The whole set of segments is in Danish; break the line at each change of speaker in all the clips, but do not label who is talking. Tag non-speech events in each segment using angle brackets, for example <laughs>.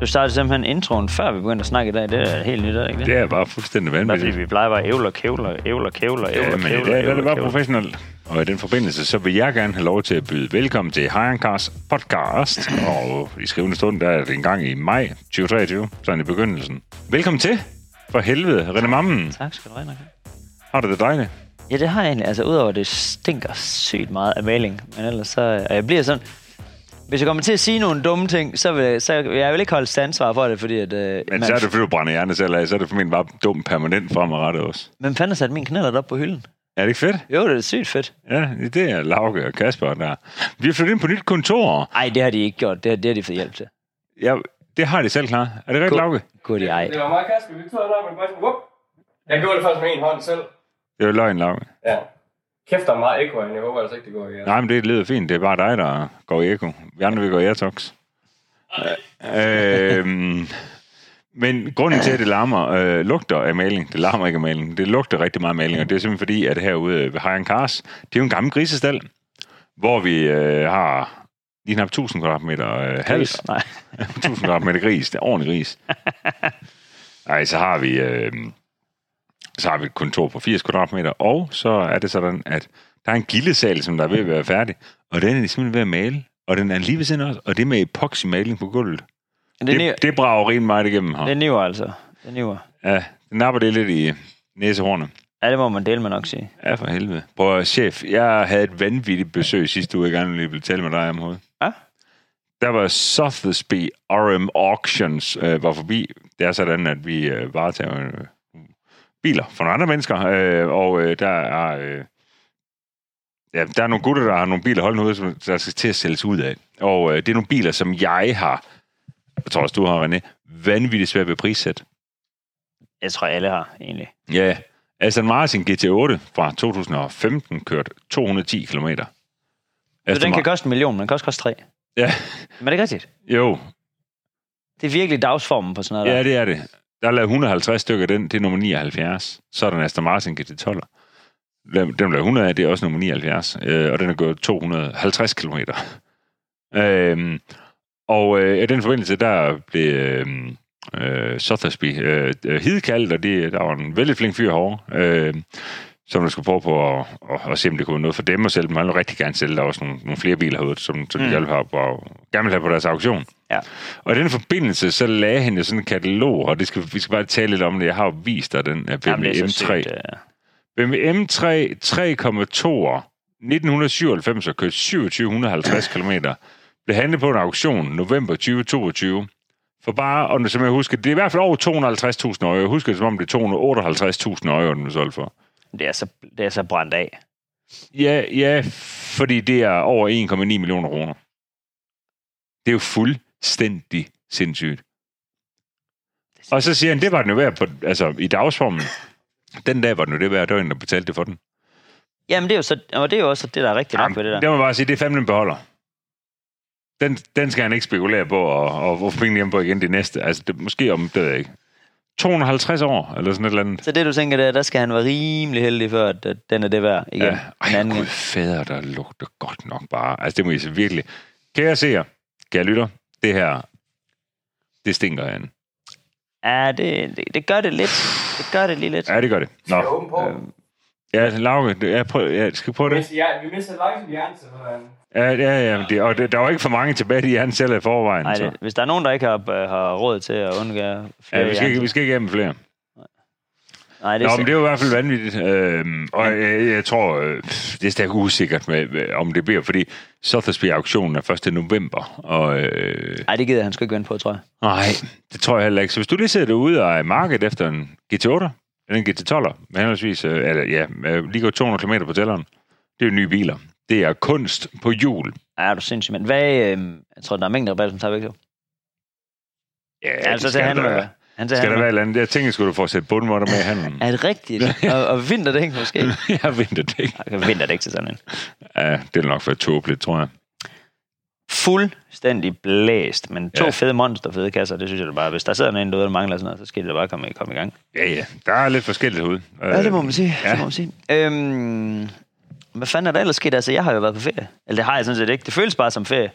Du startede simpelthen introen, før vi begyndte at snakke i dag. Det er helt nyt, er det ikke det?
Det er bare fuldstændig
Bare fordi
vanvittigt.
vi plejer bare at ævle og kævle, og ævle og kævle, og ævle
Ja,
og
men
kævle.
i dag der er det
ævle og
bare
kævle.
professionelt. Og i den forbindelse, så vil jeg gerne have lov til at byde velkommen til Hajankars podcast. Og i skrivende stund, der er det en gang i maj 2023, sådan i begyndelsen. Velkommen til, for helvede, René Mammen.
Tak skal du have, Henrik.
Har du det dejligt?
Ja, det har jeg egentlig. Altså, udover at det stinker sygt meget af maling. Men ellers så... Og jeg bliver sådan... Hvis jeg kommer til at sige nogle dumme ting, så vil, så vil jeg vil ikke holde standsvar for det, fordi at... Øh,
Men så er det, fordi du brænder hjernen selv af, så er det formentlig bare dum permanent fremadrettet også.
Men fanden har sat min knallert op på hylden?
Er det ikke fedt?
Jo, det er sygt fedt.
Ja, det er Lauke og Kasper der. Vi har flyttet ind på nyt kontor.
Ej, det har de ikke gjort. Det, har- det har de fået hjælp til.
Ja, det har de selv klar. Er det rigtigt, Lauke?
Godt, ej.
Det var mig og Kasper, vi tog der, men bare sådan, whoop. Jeg gjorde det faktisk med en hånd selv.
Det er jo løgn, Lauke.
Ja. Kæft, der er meget ekko herinde. Jeg håber altså ikke, det går igen.
Nej, men det lyder fint. Det er bare dig, der går i eko. Vi andre, vi går i Airtox. øhm, men grunden til, at det larmer, øh, lugter af maling, det larmer ikke af maling, det lugter rigtig meget af maling, og det er simpelthen fordi, at herude ved Hajan Kars, det er jo en gammel grisestal, hvor vi øh, har lige knap 1000 kvadratmeter øh, hals,
Nej.
<laughs> 1000 kvadratmeter gris, det er
<laughs>
ordentlig gris. Nej, så har vi øh, så har vi et kontor på 80 kvadratmeter, og så er det sådan, at der er en gildesal, som der er ved at være færdig, og den er de simpelthen ved at male, og den er lige ved siden af os, og det er med epoxymaling på gulvet.
Det er, niver,
Det, det brager rent meget igennem
det er
her.
niver, altså. Det er niver.
Ja, den napper det lidt i næsehornet.
Ja, det må man dele med nok sige.
Ja, for helvede. Prøv at, chef, jeg havde et vanvittigt besøg sidste uge, jeg gerne lige ville tale med dig om hovedet.
Ja.
Der var Sotheby's RM Auctions øh, var forbi. Det er sådan, at vi øh, varetager øh, biler for nogle andre mennesker, øh, og øh, der er... Øh, Ja, der er nogle gutter, der har nogle biler holdende ude, som der skal til at sælges ud af. Og øh, det er nogle biler, som jeg har, jeg tror også, du har, René, vanvittigt svært ved prissæt.
Jeg tror, alle har, egentlig.
Ja, Aston Martin GT8 fra 2015 kørt 210 km.
Så den kan koste en million, men den kan også koste tre.
Ja,
Men det er rigtigt.
jo,
Det er virkelig dagsformen på sådan noget.
ja,
der.
det er det. Der er lavet 150 stykker af den, det er nummer 79. Så er den Aston Martin GT12. Den blev 100 af, det er også nummer 79. Øh, og den er gået 250 km. Øhm, og øh, i den forbindelse, der blev øh, øh, Sothersby øh, øh, hidkaldt, og det, der var en vældig flink fyr herovre, øh, som der skulle prøve på at, at, at, se, om det kunne være noget for dem at sælge dem. Han ville rigtig gerne sælge. Der var også nogle, nogle flere biler herude, som, som mm.
Mm.
de gerne ville have på- gerne ville have på deres auktion.
Ja.
Og i den forbindelse, så lagde han jo sådan en katalog, og det skal, vi skal bare tale lidt om det. Jeg har jo vist dig den af BMW
Jamen, det er så
M3.
sygt, øh.
BMW M3 3,2 1997 og kørte 2750 km. Blev handlet på en auktion november 2022. For bare, og som jeg husker, det er i hvert fald over 250.000 øje. Jeg husker det, som om det er 258.000 øje, den blev solgt for.
Det er, så, det er så brændt af.
Ja, ja, fordi det er over 1,9 millioner kroner. Det er jo fuldstændig sindssygt. Og så siger han, det var den jo værd på, altså, i dagsformen. Den dag var den jo det værd, det var en, der betalte det for den.
Jamen, det er jo, så, og det er jo også det, der er rigtigt nok ved det der.
det må man bare sige, det er fandme en beholder. Den, den skal han ikke spekulere på og, og få penge hjem på igen det næste. Altså, det, måske om, det ved jeg ikke, 250 år, eller sådan et eller andet.
Så det, du tænker, det er, der skal han være rimelig heldig for, at øh, den er det værd igen. Ja.
Ej,
En anden
gud
gang.
fader, der lugter godt nok bare. Altså, det må I se virkelig. Kære seer, kære lytter, det her, det stinker af en.
Ja, det, det, det, gør det lidt. Det gør det lige lidt.
Ja, det gør det.
Jeg er
Nå.
åben på. Øhm,
Ja, Lauke, det- jeg, prøv, jeg skal prøve det.
ja, vi mister langt i hjernen, sådan.
Ja, ja, ja. men Det, og det, der var ikke for mange tilbage i hans selv i forvejen.
Ej,
så.
det, hvis der er nogen, der ikke har, øh, har råd til at undgå flere
Ja, vi skal, ikke,
jern-
vi skal ikke igennem flere.
Nej, det er,
Nå,
Nå,
men det er jo i hvert fald vanvittigt. Øhm, og jeg, jeg tror, øh, det er stærkt usikkert, med, med- om det bliver, fordi Sothersby-auktionen er 1. november, og øh,
Ej, det gider han sgu ikke vente på, tror jeg.
Nej, det tror jeg heller ikke. Så hvis du lige sidder derude og er i markedet efter en GT8, eller en GT12, med henholdsvis, øh, eller, ja, øh, lige går 200 km på tælleren, det er jo nye biler. Det er kunst på hjul.
Ej, er du sindssyg, men hvad... Øh, jeg tror, der er mængder rabat, som tager væk, jo.
Ja,
Ja, altså,
det
til
skal
handler.
der,
ja. Han til
skal der
handler.
være et eller andet? Jeg tænker, skulle du få sat bundmåtter med i handelen.
Er det rigtigt? og, og vinterdæk <laughs> måske?
<laughs> jeg venter det ikke.
Jeg venter det ikke til sådan en.
Ja, det er nok for tåbeligt, tror jeg.
Fuldstændig blæst, men to
Ja.
ja. fede monsterfede kasser, det synes jeg da bare. Hvis der sidder en derude, der mangler sådan noget, så skal det da bare komme, komme i gang.
Ja, ja. Der er lidt forskelligt herude. Øh,
Ja, det må man sige.
ja.
Ja. Det må man sige. Øhm, hvad fanden er der ellers sket? Altså, jeg har jo været på ferie. Eller det har jeg sådan set ikke. Det føles bare som ferie.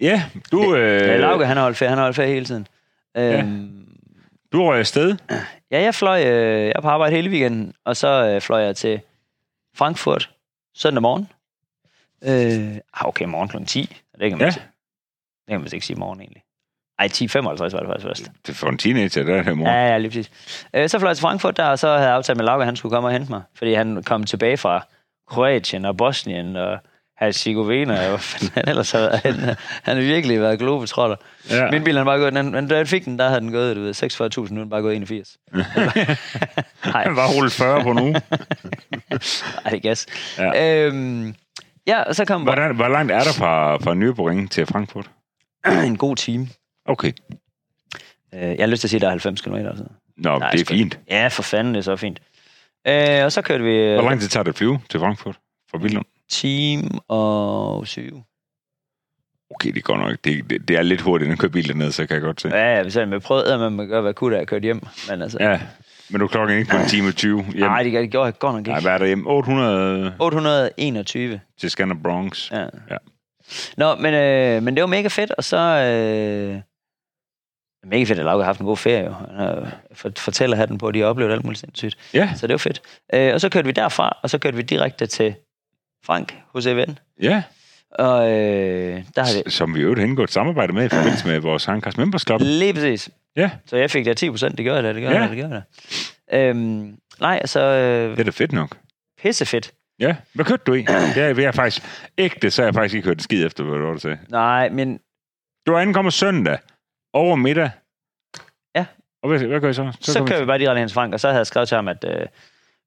Ja, du,
Øh, Lauke,
øh,
han har holdt ferie, han har holdt ferie hele tiden. Øhm,
du røg afsted.
ja. ja, jeg fløj, øh, jeg var på arbejde hele weekenden, og så øh, fløj jeg til Frankfurt søndag morgen. Øh, ah, okay, morgen kl. 10. Det kan man,
Ja.
ja. det kan man vist ikke sige morgen egentlig. Ej, 10.55 var det faktisk først.
Det er for en teenager, der er det her mor.
Ja, ja, lige præcis. Øh, så fløj jeg til Frankfurt der, og så havde jeg aftalt med Lauke, at han skulle komme og hente mig. Fordi han kom tilbage fra Kroatien og Bosnien og Herzegovina, og hvad fanden han ellers havde været henne. Han har virkelig været globetrotter.
Ja.
Ja. Min bil, han bare gået, den, men da jeg fik den, der havde den gået, du ved, 46.000, nu er den bare gået 81.
<laughs>
Nej,
Han var rullet 40
<laughs>
på nu.
ej, det er gas.
Ja.
Ja. Øhm, ja, og så kom bare
Hvordan, hvor langt er der fra, fra Nyborg til Frankfurt?
<clears throat> en god time.
Okay.
Øh, jeg har lyst til at sige, at der er 90 km. Altså.
Nå,
Nej,
det er
sgu
fint.
Ja, for fanden, det er så fint. Øh, og så kørte vi
Hvor
øh,
lang tid tager det at flyve til Frankfurt fra Billund?
time og syv.
Okay, det går nok. Det, det, det er lidt hurtigt, når jeg kører bil dernede, så kan jeg godt se.
Ja, ja, så jeg prøvede, at man gør, hvad jeg kunne, da jeg kørte hjem. Men altså,
Ja, men du er klokken ikke på en time og 20. Hjem.
nej, det, det gjorde jeg godt nok
Nej,
ikke.
hvad er der hjemme? 800
821.
til Scanner Bronx.
Ja.
Ja.
Nå, men, øh, men det var mega fedt, og så... Øh, mega fedt, at Lauke har haft en god ferie, jo. Han har jo for, fortæller hatten på, at de har oplevet alt muligt sindssygt.
Ja,
Så det var fedt. Øh, og så kørte vi derfra, og så kørte vi direkte til Frank hos EVN.
ja.
Og øh, der har det
S- Som vi i øvrigt har indgået et samarbejde med i forbindelse med vores Handcast Members Club.
lige præcis.
Ja,
Så jeg fik da 10 procent, det gør jeg da, det gør jeg
Ja.
da, det gør jeg da. Øhm, nej, så øh,
det er da fedt nok.
pissefedt.
Ja, hvad kørte du i? Det er, jeg er faktisk ægte, så har jeg faktisk ikke hørt en skid efter, hvad du var, du sagde.
Nej, men
Du er ankommet søndag over middag.
Ja.
Og hvad, hvad gør I så?
så, så
kom I-
kører vi bare direkte hen til Frank, og så havde jeg skrevet til ham, at øh, vi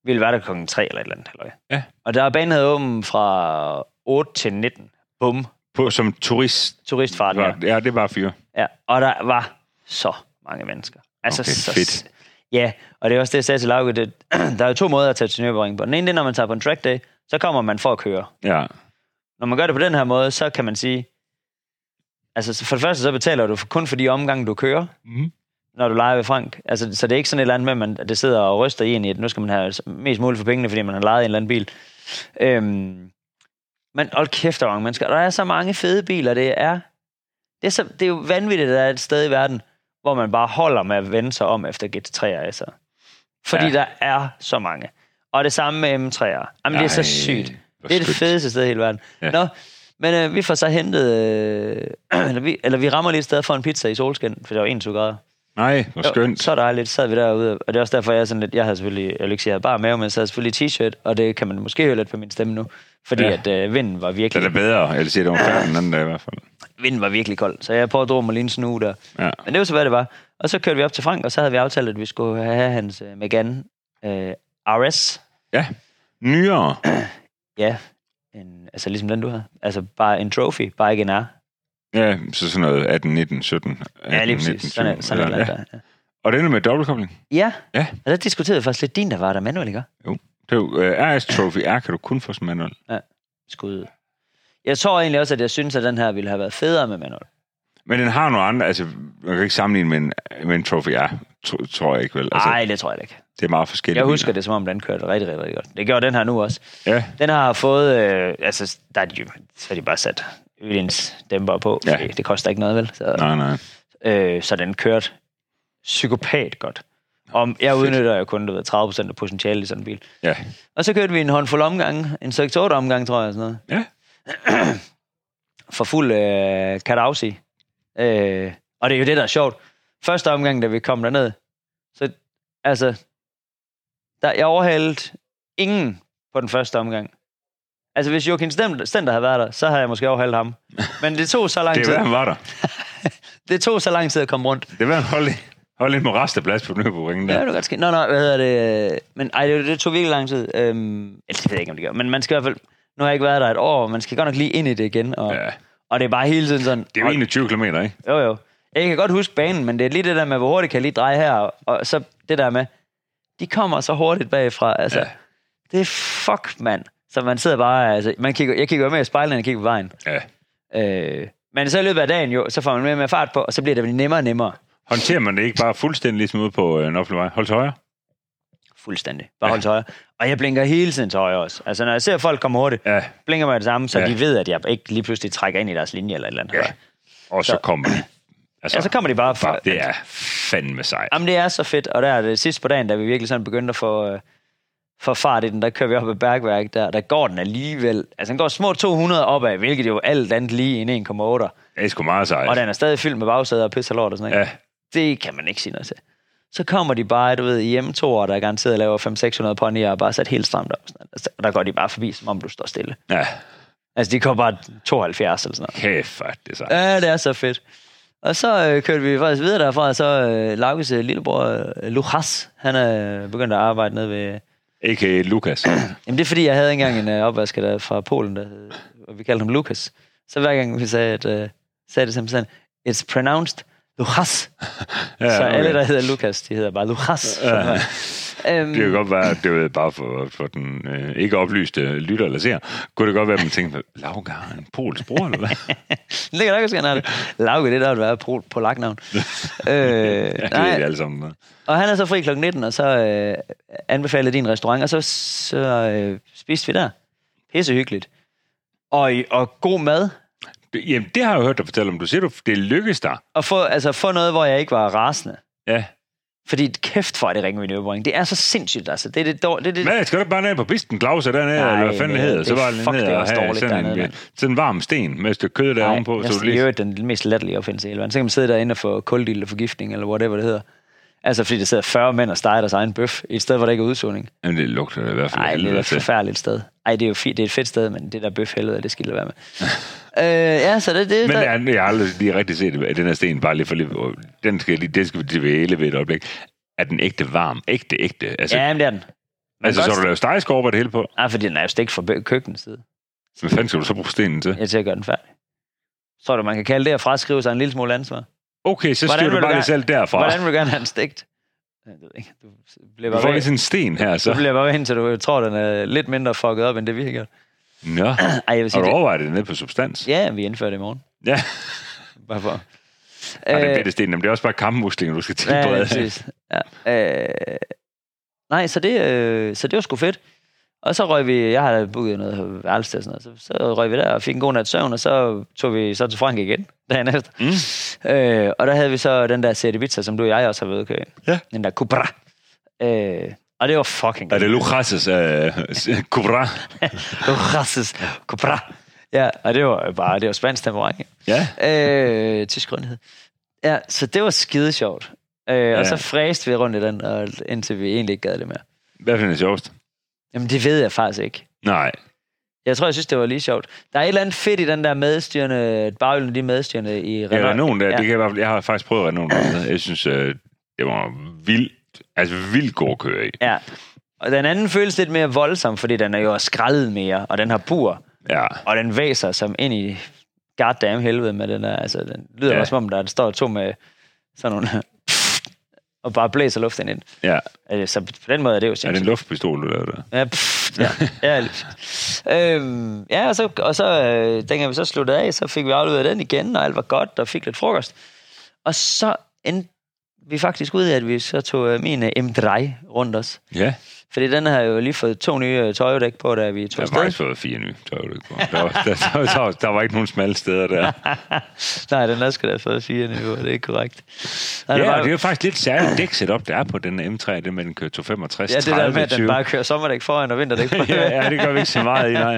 ville være der klokken 3 eller et eller andet. Halløj.
Ja.
Og der er banen havde åben fra 8 til 19. Bum,
på, som turist.
turistfart. Ja.
Var, ja, det var fyre.
ja. Og der var så mange mennesker. Altså,
Okay,
så,
fedt.
Ja, og det er også det, jeg sagde til Lauke. Det, <clears throat> der er jo to måder at tage til Nürburgring på. Den ene, det er, når man tager på en track day, så kommer man for at køre.
Ja.
Når man gør det på den her måde, så kan man sige, altså så for det første, så betaler du for- kun for de omgange, du kører.
Mhm.
når du leger ved Frank. Altså, så det er ikke sådan et eller andet med, at man, det sidder og ryster i en i, at nu skal man have mest muligt for pengene, fordi man har lejet en eller anden bil. Øhm, men hold kæft, der er mange mennesker. Og Der er så mange fede biler, det er... Det er, så, det er jo vanvittigt, at der er et sted i verden, hvor man bare holder med at vende sig om efter GT3'er. Altså. Fordi
Ja.
ja. der er så mange. Og det samme med M3'er. Jamen, det er
Ej,
så sygt.
hvor
Det er det
skønt.
fedeste sted i hele verden.
Ja.
Ja. Nå, men øh, vi får så hentet... Øh, <clears throat> eller, vi, eller vi rammer lige et sted for en pizza i solskin, for det var 21 grader.
Nej, hvor
Jo,
skønt.
Så dejligt. Så sad vi derude, og det er også derfor, jeg er sådan lidt... Jeg havde selvfølgelig... Jeg vil ikke sige, jeg havde bare mave, men så havde jeg selvfølgelig t-shirt, og det kan man måske høre lidt på min stemme nu. Fordi
Ja.
ja. at øh, vinden var
Det er
virkelig,
da bedre. Jeg vil sige, det var færdig den anden dag i hvert fald.
vinden var virkelig kold. Så jeg prøvede at droge mig lige en snue der.
Ja.
Men det var så, hvad det var. Og så kørte vi op til Frank, og så havde vi aftalt, at vi skulle have hans øh, Megane øh, RS.
ja. Nyere.
Ja, en, altså ligesom den, du havde. Altså bare en trophy, bare ikke en R.
Ja, så sådan noget 18, 19, 17. 18,
Ja, lige præcis. Sådan, er-
20,
sådan er
eller-
det. Ja.
Og den er med dobbeltkobling.
Ja.
Ja.
Og der diskuterede jeg faktisk lidt din, der var der manuel, ikke?
Det er jo, uh, RS Trophy R kan du kun få som manual.
Skud. Jeg tror egentlig også, at jeg synes, at den her ville have været federe med manuel.
Men den har nogle andre, altså man kan ikke sammenligne med en, med en Trophy R, tro, tror jeg ikke vel. Altså,
Nej, det tror jeg da ikke.
det er meget forskelligt.
Jeg husker det, som om den kørte rigtig, rigtig, rigtig godt. Det gjorde den her nu også.
Ja,
Den har fået... Øh, altså, der er de, jo- så har de bare sat Ølens dæmper på.
Ja.
Ja. Det koster ikke noget, vel? Så,
nej, nej.
øh, så den kørte psykopat godt. Og jeg
Fedt.
udnytter jo kun du ved, 30% af potentialet i sådan en bil.
Ja,
Og så kørte vi en håndfuld omgange. En 6 omgang, tror jeg, sådan noget.
ja.
for fuld øh, kadavsi. Øh, og det er jo det, der er sjovt. Første omgang, da vi kom derned, så altså, der, jeg overhalede ingen på den første omgang. Altså, hvis Joachim Stem- Stender havde været der, så havde jeg måske overhalet
<laughs>
ham. Men det tog så lang
Det er
tid,
værd, han var der.
det tog så lang tid at komme rundt.
Det er værd, hold, hold en morasterplads på Nørrebro-ringen
Ja,
der.
det kan godt ske. Nå, nå, hvad hedder det? Men ej, det, det tog virkelig lang tid. Øhm, eller det ved jeg ikke, om det gør. Men man skal i hvert fald... Nu har jeg ikke været der et år, og man skal godt nok lige ind i det igen. Og,
Ja.
ja. og det er bare hele tiden sådan...
Det er jo 21 km, ikke?
Jo, jo. Jeg kan godt huske banen, men det er lige det der med, hvor hurtigt kan jeg lige dreje her, og- og så det der med, de kommer så hurtigt bagfra, altså.
Ja.
Ja. Det er fuck, mand. Så man sidder bare, altså, man kigger, jeg kigger jo med i spejlene, jeg kigger på vejen.
Ja.
Øh, men så i løbet af dagen jo, så får man mere og mere fart på, og så bliver det vel nemmere og nemmere.
Håndterer man det ikke bare fuldstændig ligesom ude på øh, en offentlig vej? Hold til højre.
Fuldstændig. Bare
Ja.
ja. hold til højre. Og jeg blinker hele tiden til højre også. Altså, når jeg ser folk komme hurtigt,
Ja.
blinker mig det samme, så
Ja.
ja. de ved, at jeg ikke lige pludselig trækker ind i deres linje eller et eller andet.
Ja.
Ja.
Og så,
Så-
kommer de. Altså,
Ja, så kommer de bare fra...
fuck, det er fandme sejt.
Jamen, det er så fedt. Og der er det sidst på dagen, da vi virkelig sådan begyndte at få, øh, få fart i den, der kører vi op ad Bergværk, der, der går den alligevel. Altså, den går små 200 opad, hvilket jo alt andet lige en 1,8. Og
Det er sgu meget sejt.
den er stadig fyldt med bagsæder og pisse og lort og sådan noget.
Ja,
Det kan man ikke sige noget til. Så kommer de bare, du ved, i hjemmetoer, der garanteret laver 500-600 ponyer og bare sat helt stramt op. Sådan noget. Altså, Og der går de bare forbi, som om du står stille.
ja.
Altså, de kommer bare 72 eller sådan noget.
Kæft, fuck, det er sejt.
Ja, det er så fedt. Og så øh, kørte vi faktisk videre derfra, og så øh, Laukes øh, lillebror, øh, Lukas, han er øh, begyndt at arbejde nede ved...
A.k.a. Lukas.
Jamen det er fordi, jeg havde engang en øh, opvasker der fra Polen, der hed, og vi kaldte ham Lukas. Så hver gang vi sagde, at, øh, sagde det simpelthen, it's pronounced Lukas.
Ja,
så
okay.
alle, der hedder Lukas, de hedder bare Lukas. Ja. Øhm,
Det kan godt være, det er bare for, for den øh, ikke oplyste lytter eller ser. Kunne det godt være, at man tænkte, Lauga er en polsk bror, eller hvad?
det kan nok også gerne have det. Lauke, det der ville være på, på
<laughs>
laknavn. øh,
ja, det er
nej,
det alle sammen. med.
Og han er så fri kl. 19, og så øh, anbefalede din restaurant, og så, så øh, spiste vi der. Pisse hyggeligt. Og, i- og god mad.
Det- Jamen, det har jeg jo hørt dig fortælle om. Du siger, du, det lykkedes dig.
Og få, altså, få noget, hvor jeg ikke var rasende.
Ja.
Fordi kæft for, at det ringer min øvebring. Det er så sindssygt, altså. Det er det dår, det, er det,
Men jeg skal da bare ned på pisten, Claus, og dernede,
Nej,
eller hvad fanden det
det-
hedder. Så
det-
var jeg lige
fuck,
ned
det er
og
også
have
dårligt
sådan en,
dernede,
øh,
mand.
sådan en varm sten med et stykke kød der
Nej,
ovenpå.
jeg
Så du
synes, det er
lige...
jo den mest latterlige opfindelse i hele verden. Så kan man sidde derinde og få kuldild og forgiftning, eller whatever det hedder. Altså, fordi der sidder 40 mænd og steger deres egen bøf, i et sted, hvor der ikke er udsugning.
Jamen, det lugter da i hvert fald.
Nej, det er da
helvede
et
til.
forfærdeligt sted. Ej, det er jo fi- det er et fedt sted, men det der bøf helvede, det skal det være
<laughs>
med. øh, ja, så det, det
Men
der,
jeg, jeg har aldrig lige rigtig set, at den her sten bare lige for lidt... Den skal, jeg lige, den skal vi dvæle ved et øjeblik. Er den ægte varm? Ægte, ægte? Altså,
ja, men det er den. Man
altså
kan
så
godt-
har du lavet stegeskorper det hele på.
Nej, fordi den er jo stik fra bø- køkkenets side.
Hvad fanden skal du så bruge stenen til?
Jeg er til at gøre den færdig. Tror du, man kan kalde det at fraskrive sig en lille smule ansvar?
Okay, så
Hvordan
styrer
vil
du
du
bare lige
gerne-
selv derfra.
Hvordan vil du gerne have den stegt? Jeg ved ikke. Du bliver
Du
bare
får lige
ved,
sådan en sten her, så.
du bliver bare ved hen, til du tror, den er lidt mindre fucket op, end det vi har gjort.
Nå,
Ej, jeg vil
har
sige
du
det.
overvejet det nede på substans?
Ja, vi indfører det i morgen.
Ja.
Bare for.
Ej, den
Øh,
bedte sten, jamen, det er også bare kammuslinger, du skal
Ja, lige
tilberede.
præcis. Ja. Øh, nej, så det, øh, så det var sgu fedt. Og så røg vi, jeg har booket noget værelse og sådan noget, så, så røg vi der og fik en god nat søvn, og så tog vi så til Frank igen <laughs> dagen efter. Mm. Øh, og der havde vi så den der serie pizza, som du og jeg også har været ude at købe.
Ja.
Den der Cobra. Øh, og det var fucking
Er
godt. <laughs>
det Lucas' øh, kubra?
Rases Cobra. Ja, og det var bare, det var spansk temperament. ikke?
Ja.
øh, tysk grønhed. Ja, så det var skide sjovt. Øh, ja.
Ja.
Og så fræste vi rundt i den, og indtil vi egentlig ikke gad det mere.
Hvad finder det sjovest?
Jamen, det ved jeg faktisk ikke.
Nej.
Jeg tror, jeg synes, det var lige sjovt. Der er et eller andet fedt i den der medstyrende, at bagølen de medstyrende i
Ja, Renault, der, ja.
Ja.
det kan jeg, i hvert fald, jeg har faktisk prøvet Renault. dernede. Jeg synes, øh, det var vildt, altså vildt god at køre i.
Ja. Og den anden føles lidt mere voldsom, fordi den er jo skrællet mere, og den har bur,
Ja.
og den væser som ind i goddamn helvede med den der. Altså, den lyder
Ja.
ja. også som om, der står to med sådan nogle... <laughs> og bare blæser luft ind i den.
Ja.
Altså, så på den måde er det jo
Er
sindssygt.
det en luftpistol, du lavede der?
Ja, pff, ja. ja, lige præcis. øhm, ja og så, og så øh, dengang vi så sluttede af, så fik vi afleveret den igen, og alt var godt, og fik lidt frokost. Og så endte vi faktisk ud af, at vi så tog øh, min øh, M3 rundt os.
Ja.
Fordi den har jo lige fået to nye øh, tøjdæk på, da vi
Jeg
tog
har faktisk
afsted.
fået fire nye, tør du ikke på. Der var, der, der, der, der, var ikke nogen smalle steder der.
Nej, den er sgu da fået fire niveauer, det er ikke korrekt. Nej,
Ja,
var-
og det er jo faktisk lidt særligt dæksetup, der er på den M3, det med, den kører 265,
ja, det der
30,
med, at den
20.
bare kører sommerdæk foran og
<laughs>
vinterdæk foran.
ja, ja, det gør vi ikke så meget i, nej.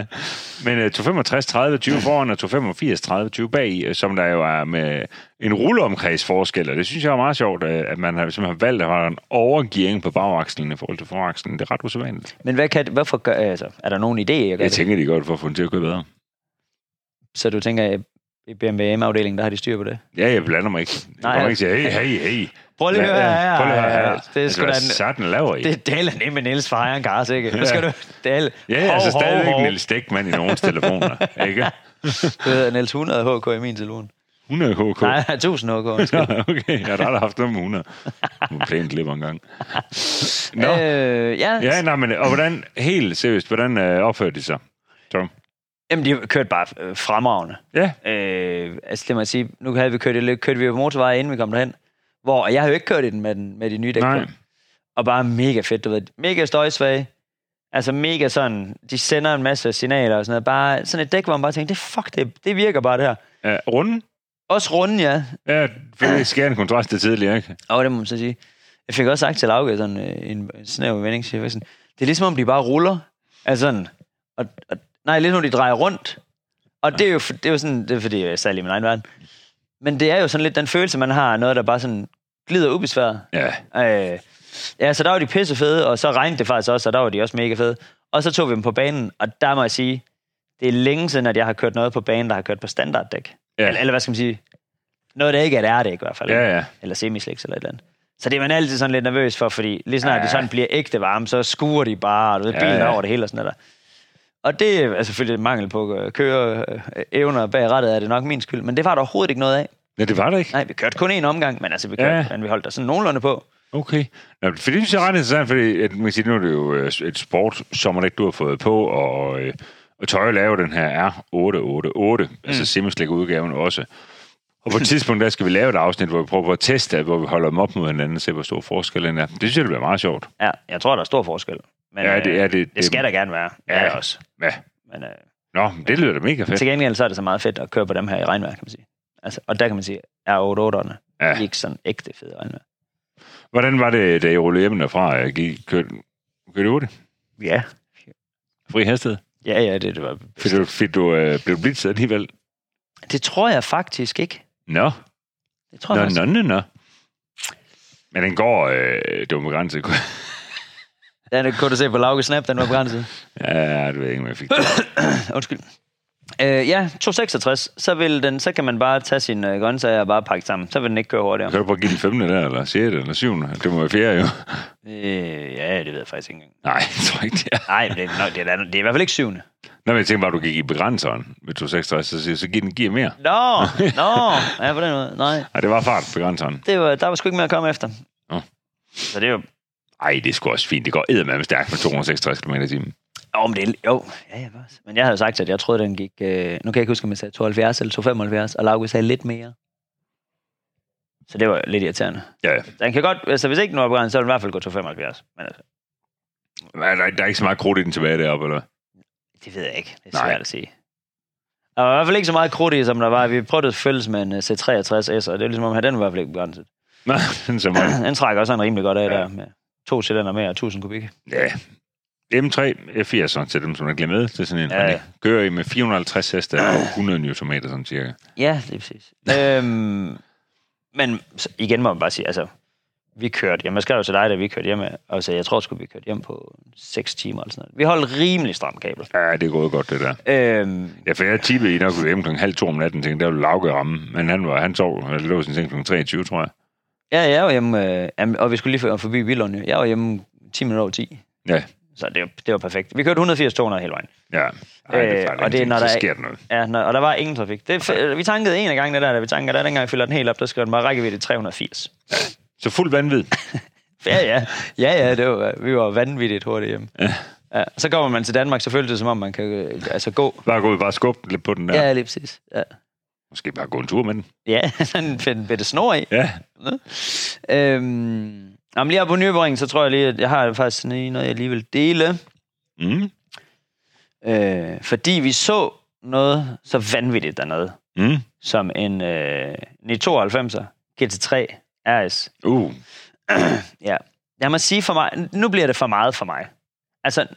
Men uh, 265, 30, 20 foran og 285, 30, 20 bag, øh, som der jo er med en rulleomkreds forskel, og det synes jeg er meget sjovt, øh, at man har, simpelthen har valgt at have en overgearing på bagakslen i forhold til forakslen. Det er ret usædvanligt.
Men hvad kan, hvorfor gør, altså, er der nogen idé, jeg gør
Jeg
det?
tænker, de godt for at få den til at køre bedre.
Så du tænker, at i BMW M-afdelingen, der har de styr på det?
Ja, jeg blander mig ikke. Jeg
Nej,
kommer
ja.
ikke til, hey, hey, hey.
Prøv lige at høre her.
Prøv lige at høre her. Altså,
Det er sgu da en-
Sådan laver I.
Det er Dale nemme Niels fra Ejeren Kars, ikke? Nu skal du... Dale.
Ja,
Hov,
altså
hov,
stadigvæk
hov.
Niels Dækman i nogens telefoner, ikke?
Det hedder Niels 100 HK i min telefon.
100 HK.
Nej, 1000 HK. undskyld.
<laughs> okay, jeg har da aldrig haft noget med 100. Nu pænt glipper en gang. Nå, øh,
Øh, ja.
ja, nej, men, og hvordan, helt seriøst, hvordan øh, opførte de sig? Tom?
Jamen, de har kørt bare øh, fremragende.
Ja,
Øh, altså, det må jeg sige, nu havde vi kørt, eller, kørte vi på motorvejen, inden vi kom derhen. Hvor jeg har jo ikke kørt i den med, den, med de nye dæk. på.
nej.
Og bare mega fedt, du ved. Mega støjsvage. Altså mega sådan, de sender en masse signaler og sådan noget. Bare sådan et dæk, hvor man bare tænker, det fuck, det, det virker bare det her.
Øh, runden?
Også runde, ja.
Ja, for <clears throat> det sker en kontrast til tidligere, ikke?
Og det må man så sige. Jeg fik også sagt til Lauke sådan øh, i en en snæver vending, siger jeg sådan, det er ligesom om de bare ruller. Altså sådan, og, og, nej, ligesom om de drejer rundt. Og det er jo, for- det er jo sådan, det er fordi jeg er særlig i min egen verden. Men det er jo sådan lidt den følelse, man har af noget, der bare sådan glider ubesværet.
Ja.
Øh, ja, så der var de pisse fede, og så regnede det faktisk også, og der var de også mega fede. Og så tog vi dem på banen, og der må jeg sige, det er længe siden, at jeg har kørt noget på banen, der har kørt på standarddæk.
Ja.
Eller, eller hvad skal man sige? Noget, der ikke er et R-dæk i hvert fald.
Ja, ja.
Eller semisliks eller et eller andet. Så det er man altid sådan lidt nervøs for, fordi lige snart ja.
Ja.
de sådan bliver ægte varme, så skuer de bare, og du ved,
Ja,
bilen
ja.
over det hele og sådan noget der. Og det er selvfølgelig et mangel på øh, køre øh, evner bag rettet, er det nok min skyld. Men det var der overhovedet ikke noget af.
Nej, det var det ikke.
Nej, vi kørte kun én omgang, men altså, vi, kørte,
Ja.
ja. men vi holdt der sådan nogenlunde på.
Okay. Nå, for det synes jeg er ret interessant, fordi at, man kan sige, nu er det jo øh, et sport, som man ikke du har fået på, og, øh, og Tøj laver den her R888, mm. altså Simmerslik udgaven også. Og på et tidspunkt, der skal vi lave et afsnit, hvor vi prøver på at teste, hvor vi holder dem op mod hinanden og ser, hvor stor forskellen er. Det synes jeg, det bliver meget sjovt.
Ja, jeg tror, der er stor forskel. Men,
Ja, det-
øh,
ja, det-
det
det-
skal der gerne være. Ja,
Ja.
ja. også.
Ja.
Men øh,
Nå, men det lyder da mega fedt.
til gengæld, så er det så meget fedt at køre på dem her i regnvejr, kan man sige. Altså, og der kan man sige, er 88'erne
Ja.
ja. ikke sådan ægte fede regnvejr.
Hvordan var det, da I rullede hjem derfra? Jeg gik, kørte, kørte I hurtigt?
Ja.
Fri hastighed?
Ja, ja, det, det var...
Fik du, fik du øh, blev du blitzet alligevel?
Det tror jeg faktisk ikke.
Nå,
Det tror jeg
nå,
faktisk.
nå, nå, nå. Men den går, øh, det var med grænse.
Den kunne du se på Lauke Snap, den var begrænset.
<laughs>
<laughs>
ja, det ved jeg ikke, om jeg fik det.
Undskyld. Øh, ja, 266, så, vil den, så kan man bare tage sin øh, grøntsager og bare pakke sammen. Så vil den ikke køre hurtigere.
Kan du bare give den femte der, eller sjette, eller syvende? Det må være fjerde, jo. <laughs>
Øh, ja, det ved jeg faktisk ikke engang.
Nej, jeg tror ikke, det er.
Nej, men det, er, nok- det, er, det er i hvert fald ikke syvende.
Nå, men jeg tænkte bare, du gik i begrænseren med 266, så, siger jeg, så giv den gear mere. <laughs>
Nå, nå, ja, på den måde. Nej,
Nej, det var fart, begrænseren.
det var, der var sgu ikke mere at komme efter.
Nå.
Så det er jo...
Ej, det er sgu også fint. Det går eddermame stærkt med 266 km i timen.
Jo, men det er, jo, ja, ja, også. Men jeg havde jo sagt, at jeg troede, den gik... Øh, nu kan jeg ikke huske, om jeg sagde 72 eller 275, og Lauke sagde lidt mere. Så det var lidt irriterende.
Ja,
Den kan godt... Altså, hvis ikke den var begrænset, så ville den i hvert fald gå 275. Men altså,
men der, der er ikke så meget krudt i den tilbage deroppe, eller hvad?
det ved jeg ikke. Det er
Nej.
svært Nej. at sige. Der var i hvert fald ikke så meget krudt i, som der var. Vi prøvede at følges med en øh, C63S, og det er ligesom om, at den var i hvert fald ikke begrænset. <clears throat>
Nej, <laughs> den er så meget.
Den trækker også en rimelig godt af ja.
Ja.
der med to cylinder mere og 1000 kubik.
Ja. M3 F80 sådan, til dem, som er glemt med. Det er sådan en,
Ja,
ja,
ja.
ja. kører I med 450 heste og 100 Nm, sådan cirka.
Ja, det er præcis. øhm, men så igen må man bare sige, altså, vi kørte hjem. Jeg skrev jo til dig, da vi kørte hjem, og sagde, jeg tror sgu, vi kørte hjem på 6 timer eller sådan noget. Vi holdt rimelig stram kabel.
Ja, det er gået godt, det der.
Øhm,
Ja, for jeg tippede I nok ved hjem kl. halv to om natten, tænkte, der ville Lauke ramme. Men han, var, han sov, eller lå i sin seng kl. 23, tror jeg.
ja, jeg var hjemme, øh, jamen, og vi skulle lige forbi Billund. jo. Jeg var hjemme 10 minutter over 10,
Ja,
så det, var- det var perfekt. Vi kørte 180-200 hele vejen.
ja. Ej, det er
Øh,
øh,
og det er, når
så
der er-
sker der noget.
Ja, når, og der var ingen trafik. Det, okay. Vi tankede en af gangene der, da vi tankede der, dengang jeg fylder den helt op, der skrev den bare rækkevidde 380.
Så fuld vanvid.
Ja, ja. Ja, ja, det var, vi var vanvittigt hurtigt hjemme. Ja. ja. Så kommer man til Danmark, så føles det, som om man kan øh, altså, gå.
Bare gå ud, bare skubbe lidt på den der.
Ja,
Ja.
lige præcis. Ja,
Måske bare gå en tur med den.
ja <laughs> sådan en fedt- bitte snor i.
Ja.
Øhm, jamen, lige her på Nyborg, så tror jeg lige, at jeg har faktisk sådan lige noget, jeg lige vil dele.
Mm.
Øh, fordi vi så noget så vanvittigt dernede,
Mm.
som en øh, 92'er GT3 RS.
Uh.
Ja. Jeg må sige for mig, nu bliver det for meget for mig. Altså,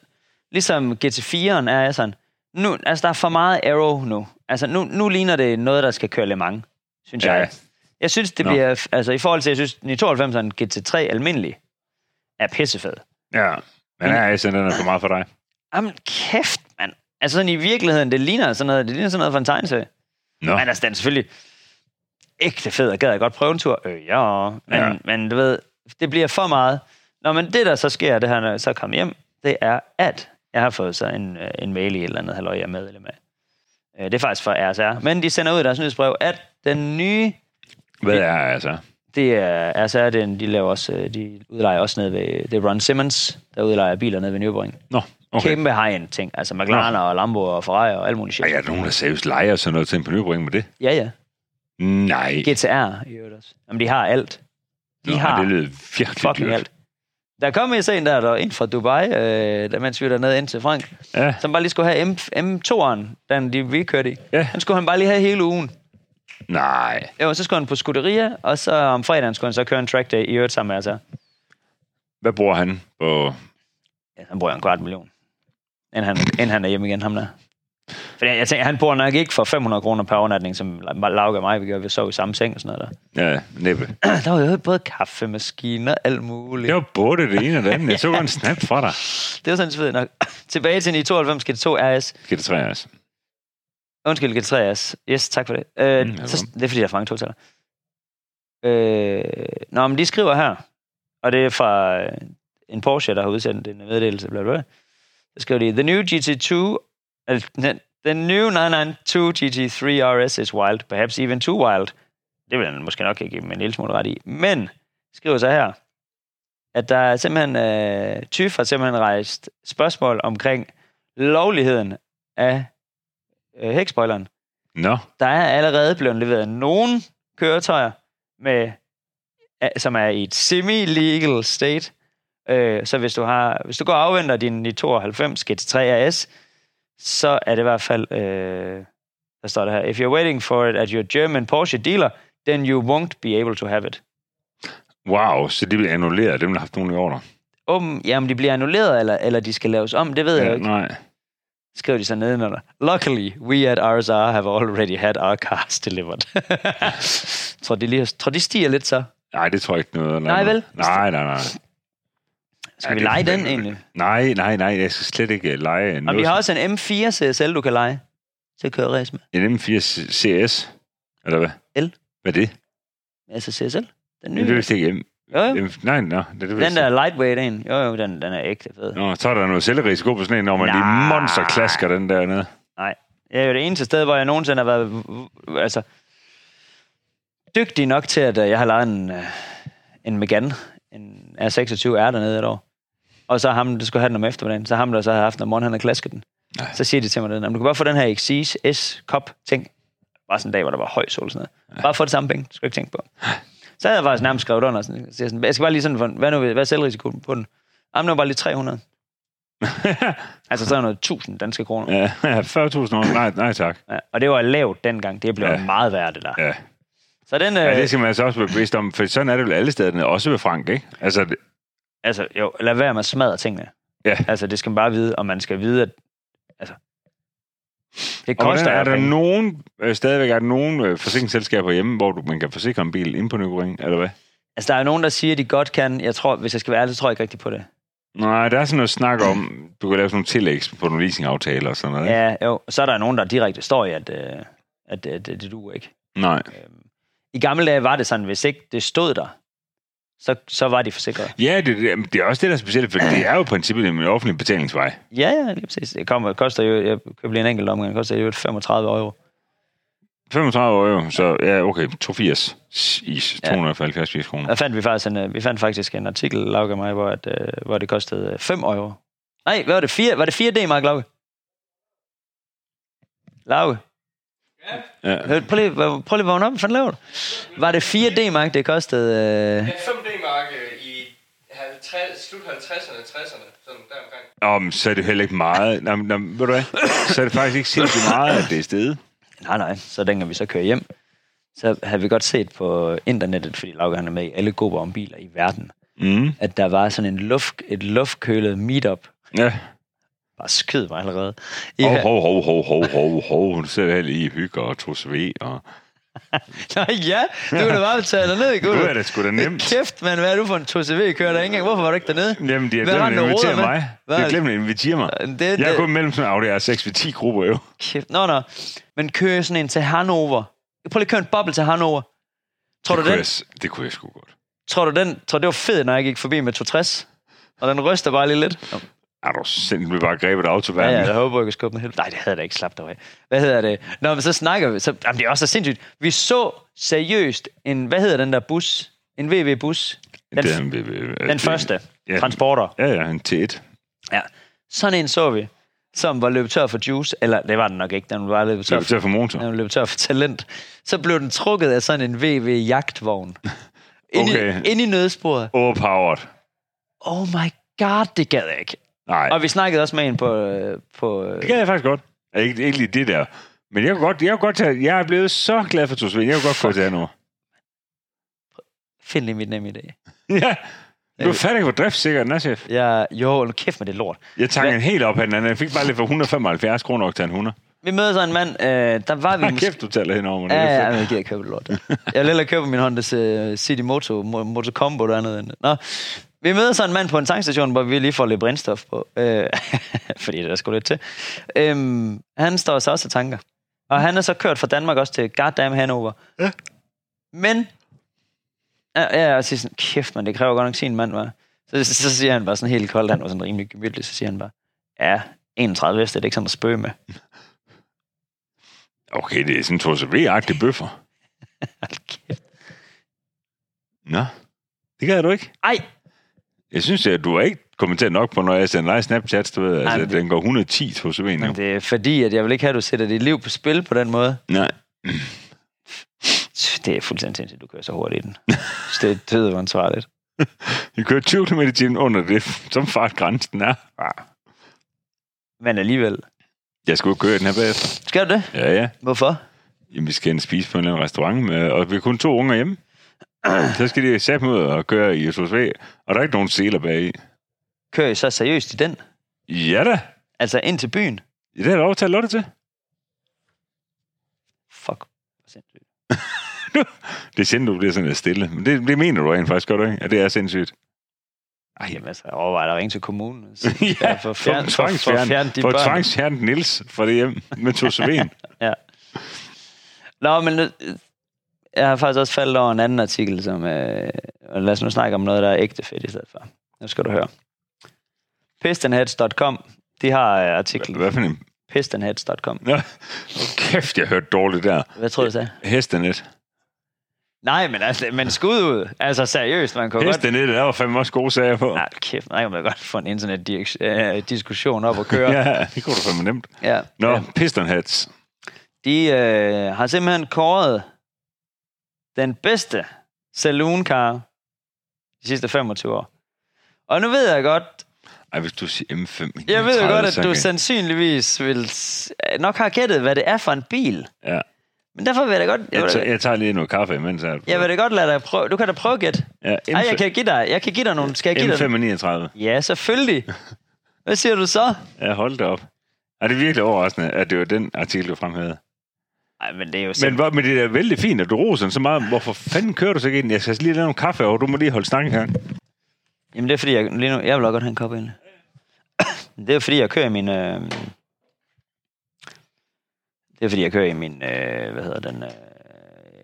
ligesom GT4'eren er sådan, nu, altså der er for meget arrow nu. Altså nu, nu ligner det noget, der skal køre Le Mans, synes
Ja.
ja. jeg. Jeg synes, det
Nå.
bliver, altså i forhold til, jeg synes, 92'eren GT3 almindelig er pissefed.
Ja. Men ja, sådan, den er for meget for dig.
Jamen kæft, mand. Altså sådan i virkeligheden, det ligner sådan noget, det ligner sådan noget fra en tegneserie.
Nå.
Men altså, den er selvfølgelig ægte fed, og gad jeg godt prøve en tur. Øh, ja, men,
Ja.
ja. men du ved, det bliver for meget. Nå, men det, der så sker, det her, når jeg så kommer hjem, det er, at jeg har fået så en, øh, en mail i et eller andet halvøj, jeg er med eller med. Øh, Det er faktisk fra RSR. Men de sender ud i deres nyhedsbrev, at den nye...
Hvad er altså?
Det er RSR, den, de, laver også, øh, de udlejer også nede ved... Det er Ron Simmons, der udlejer biler nede ved Nyborg.
Nå, okay.
Okay. Kæmpe high-end ting. Altså McLaren og Lambo og Ferrari og alt muligt shit.
Ej, er der nogen, der seriøst leger sådan noget til en på Nyborg med det?
Ja, ja.
Nej.
GTR i øvrigt også. Jamen, de har alt. De
Nå,
har
Det lyder virkelig
fucking
dyrt.
alt. Der kom en scene der, der var en fra Dubai, øh, der mens vi var dernede ind til Frank,
Ja.
som bare lige skulle have M, M2'eren, den de, vi kørte i.
Ja.
Den skulle han bare lige have hele ugen.
Nej.
Jo, så skulle han på skuderia, og så om fredagen skulle han så køre en track day i øvrigt sammen med altså. os her.
Hvad bruger han på...
Ja, han bruger en kvart million. Inden han, inden han er hjemme igen, ham der. Fordi jeg tænker, han bor nok ikke for 500 kroner per overnatning, som La- Lauke og mig, vi gjorde, vi sov i samme seng og sådan noget
Ja, næppe.
<clears throat> der. der var jo både kaffemaskiner og alt muligt.
Det var både det ene og det andet. Jeg så en snap fra dig.
Det var sådan set fedt nok. <clears throat> Tilbage til en i 92 GT2 RS.
Skal det træ, altså.
Undskyld, GT3 RS. Yes, tak for det. Øh,
Mm,
mm,
velkommen.
så, det er fordi, der er for mange totaler. Øh, nå, men de skriver her, og det er fra øh, en Porsche, der har udsendt en meddelelse, bla bla bla. Så skriver de, The new GT2, øh, ne- the new 992 GT3 RS is wild, perhaps even too wild. Det vil han måske nok ikke give dem en lille smule ret i. Men, skriver så her, at der er simpelthen, øh, TYF har simpelthen rejst spørgsmål omkring lovligheden af øh, hækspoileren
Nå,
der er allerede blevet leveret nogle køretøjer, med, a- som er i et semi-legal state. Øh, så hvis du, har, hvis du går og afventer din 92 GT3 RS, så er det i hvert fald, øh, der står det her, if you're waiting for it at your German Porsche dealer, then you won't be able to have it.
wow, så de bliver annulleret, dem der har haft nogen i ordre.
Om, jamen, de bliver annulleret, eller, eller de skal laves om, det ved ja, jeg jo
Ja,
ikke.
nej.
Skriver de så nedenunder. Luckily, we at RSR have already had our cars delivered. <laughs> tror, de lige, tror de stiger lidt så?
Nej, det tror jeg ikke noget. eller
Nej,
andet.
vel?
Nej, nej, nej.
Skal
Ja,
ja, vi
det er
lege den
forventeligt.
egentlig?
Nej, nej, nej, jeg skal slet ikke øh, lege noget.
Og vi har også en M4 CSL, du kan lege til at køre race med.
En M4 C- CS, eller hvad?
L.
Hvad er det?
Altså CSL. Den
Ny. Det er
nye.
vist ikke M.
Jo, jo.
M. Nej, nej, det er det
Den
vist
der
ikke.
lightweight en. Jo, jo, den, den er ægte fed.
Nå, så er der noget selvrisiko på sådan en, når man lige
Nej.
monsterklasker den der nede.
Jeg er jo det eneste sted, hvor jeg nogensinde har været v- v- altså, dygtig nok til, at øh, jeg har lejet en, øh, en Megane, en R26R dernede et år. Og så ham, der skulle have den om eftermiddagen, så ham, der så havde haft den om morgenen, han havde klasket den.
Nej.
Så siger de til mig, den, "Jamen, du kan bare få den her Xyz s cup ting Bare sådan en dag, hvor der var høj sol og sådan noget. Bare få det samme penge, det skal du ikke tænke på. Så havde jeg faktisk nærmest skrevet under, sådan, så jeg, sådan, jeg skal bare lige sådan, hvad, nu, hvad er selvrisikoen på den? Jamen, det var bare lige 300. altså, så er noget 1000 danske kroner.
<laughs> Ja, 40.000 år. Nej, nej tak.
Ja, og det var lavt dengang. Det blev
Ja.
ja. meget værd, det der. Ja.
Ja.
Så den, øh,
ja, det skal man altså også være bevidst om, for sådan er det vel alle steder, også ved Frank, ikke? Altså, det-
altså, jo, lad være med at smadre tingene.
Ja.
Altså, det skal man bare vide, og man skal vide, at altså, det
og
koster
hvordan, er der
penge.
nogen, øh, stadigvæk er der nogen øh, forsikringsselskaber hjemme, hvor du, man kan forsikre en bil inde på Nyborg, eller hvad?
Altså, der er jo nogen, der siger, at de godt kan. Jeg tror, hvis jeg skal være ærlig, så tror jeg ikke rigtigt på det.
Nej, der er sådan noget snak om, du kan lave sådan nogle tillægs på nogle leasingaftaler og sådan noget. ikke?
Ja, jo. Så er der nogen, der direkte står i, at, øh, at, at det, det duer ikke.
Nej.
Øhm, I gamle dage var det sådan, hvis ikke det stod der, så, så var de forsikret.
Ja, det, det, det er også det, der er specielt, for det er jo i princippet en offentlig betalingsvej.
Ja, ja, lige præcis. Det kommer, koster jo, jeg købte lige en enkelt omgang, det koster jo 35 euro.
35 euro, så ja, okay, 82 i 270 ja. kroner.
Der fandt vi faktisk en, øh, vi fandt faktisk en artikel, Lauke og mig, hvor, at, øh, hvor det kostede 5 euro. Nej, hvad var det? 4, var det 4 D-mark, Lauke? Lauke,
Ja.
hør, prøv lige, prøv lige at vågne op. Hvad fanden laver du? Var det 4 D-mark, det kostede... Øh,
En 5D-mark i 50, slut 50'erne, 60'erne, sådan der omkring.
Nå, men så er det heller ikke meget. Nå, men- nå, men ved du hvad? Så er det faktisk ikke sindssygt meget, at det er stedet.
nej, nej, så dengang vi så kører hjem, så havde vi godt set på internettet, fordi Lauke han er med i alle grupper om biler i verden,
Mm.
at der var sådan en luft, et luftkølet meetup,
Ja.
bare skød mig allerede. I,
Hov, hov, hov, hov, hov, hov, hov. Hun sidder her lige i hygge og tog sve. Og...
<laughs> Nå, ja, du er da bare taget dig ned i
Du
gulvet.
er da sgu da nemt.
Kæft, mand, hvad er du for en 2CV kører der ikke engang? Hvorfor var du ikke dernede?
Jamen, de har
Hvad
glemt
har
at
den rodet
invitere
med?
mig. De
Hvad- Øh,
har glemt at invitere mig.
Det,
Jeg er
det,
kun mellem sådan, oh, det er 6 ved 10 grupper jo.
kæft. Nå, nå. Men kører sådan en til Hannover. Prøv lige at køre en boble til Hannover. Tror du,
det, kunne
den,
jeg, s- det kunne jeg sgu godt.
tror du den, tror du det var fedt, når jeg gik forbi med 260? Og den ryster bare lige lidt.
Er du sindssygt, blev bare grebet af
Ja, ja,
autoværnen.
jeg håber, jeg kan skubbe den helt. Nej, det havde jeg da ikke slappet af. Hvad hedder det? Nå, men så snakker vi. Så, jamen, det er også så sindssygt. Vi så seriøst en, hvad hedder den der bus? En VV-bus. Den,
Det er en- øh,
den
det-
første.
ja.
Transporter.
Ja, ja, en T1.
Ja. Sådan en så vi, som var løbet tør for juice. Eller det var den nok ikke, den var løbet
Så
tør
er
for
til at få motor.
når man løb tør for talent, så blev den trukket af sådan en
<laughs>
VV-jagtvogn. Ind,
Okay.
i, ind i nødsporet.
Overpowered.
Oh my god, det gad jeg ikke.
Nej.
Og vi snakkede også med en på... øh, på øh,
Det gad jeg faktisk godt. Ja, Ikke, ikke lige det der. Men jeg kunne godt, jeg kunne godt tage, jeg er blevet så glad for Tosvind. Jeg kunne godt få til nu.
Find lige mit nemme i dag.
Ja. Du fatter ikke, hvor driftsikker den er, chef.
Jeg, jo, nu kæft med det lort.
Jeg tager
Hvad?
den helt op af den anden. Jeg fik bare lidt for 175 kroner til en 100.
Vi møder så en mand, øh, der var vi
Hold kæft, du taler henover mig. Det
Ja,
er
ja,
fedt.
men jeg gider ikke købe det lort. der. Jeg vil hellere købe min Honda øh, City Moto, Mo- Moto Combo der andet end det. Nå, vi møder så en mand på en tankstation, hvor vi lige får lidt brændstof på. Øh, <laughs> fordi det er der sgu lidt til. Øhm, han står så også og tanker. Og han er så kørt fra Danmark også til goddamn Hannover.
Ja.
Men... Ja, ja, jeg siger sådan, kæft man, det kræver godt nok sin mand, var. Så, så, så, siger han bare sådan helt koldt, han var sådan rimelig gemytlig, så siger han bare, ja, 31 vest, det er ikke sådan at spøge med. <laughs>
Okay, det er sådan en Tosvind-agtig bøffer.
Hold kæft.
Nå, det gad du ikke.
Ej,
Jeg synes, at du har ikke kommenteret nok på, når jeg sender dig Snapchats, du ved, altså,
men det-
den går 110 hos en nu.
Men det er fordi, at jeg vil ikke have, at du sætter dit liv på spil på den måde.
Nej.
Det er fuldstændig sindssygt, at du kører så hurtigt
<laughs>
i den. Så det er døde ansvarligt.
Vi kører 20 km i timen under det, som fartgrænsen er. Ah,
Men alligevel.
Jeg skulle jo køre den her bagefter.
Skal du det?
Ja, ja.
Hvorfor?
Jamen, vi skal ind og spise på en eller anden restaurant, med, og vi har kun to unger <clears throat> hjemme. Så skal de sætte dem ud og køre i SOSV, og der er ikke nogen seler bagi.
Kører I så seriøst i den?
Ja da,
Altså ind til byen?
Ja, det er der lov til at lade til.
Fuck. hvor sindssygt.
Det er sjældent, du bliver sådan lidt stille. Men det, det mener du rent faktisk godt, ikke? At det er sindssygt.
Ej, jamen altså, jeg overvejer at ringe til kommunen. og
<laughs>
sige,
Ja,
for
For
fjern, for, for fjern
tvangsfjernet
de
for,
børn.
tvangsfjernet Nils fra det hjem med
<laughs>
Tosven.
Nå, men øh, jeg har faktisk også faldet over en anden artikel, som... Øh, og lad os nu snakke om noget, der er ægte fedt i stedet for. Nu skal du høre. Pistonheads.com, de har øh, artiklen.
Hvad for en?
Pistonheads.com.
Nå, kæft, jeg hørte dårligt der.
Hvad tror du, jeg sagde?
Hestenet.
Nej, men, altså, men skud ud. Altså seriøst, man kunne godt...
Hestenet er jo fandme også gode sager på.
Nej, kæft, nej, man kan godt få en internetdiskussion op at køre. ja.
<laughs> Ja, det kunne du fandme nemt.
ja.
Nå,
Ja.
Piston Hats.
De øh, har simpelthen kåret den bedste salooncar de sidste 25 år. Og nu ved jeg godt,
Ej, hvis du siger M5.
jeg ved jo
39,
godt,
så
at du
kan-
sandsynligvis vil s- nok har gættet, hvad det er for en bil.
Ja.
Men derfor vil jeg da godt... Jeg,
Jeg, tager,
vil,
jeg tager lige noget kaffe imens. Jeg,
jeg vil da godt lade dig prøve... Du kan da prøve at gætte.
Ja, M5,
Ej, jeg kan give dig, jeg kan give dig nogle... Skal jeg give dig
M5 er 39.
Ja, selvfølgelig. Hvad siger du så?
Ja, hold da op. Er det er virkelig overraskende, at det var den artikel, du fremhævede?
Nej, men det er jo
Men,
simpelthen...
hvor, men det er da vældig fint, at du roser den så meget. Hvorfor fanden kører du så ikke ind? Jeg skal lige lave nogle kaffe, og du må lige holde snakken her.
Jamen, det er fordi, jeg, lige nu, jeg vil også godt have en kop ind. Det er fordi, jeg kører i min... Øh... Det er fordi, jeg kører i min... Øh... Hvad hedder den? Øh...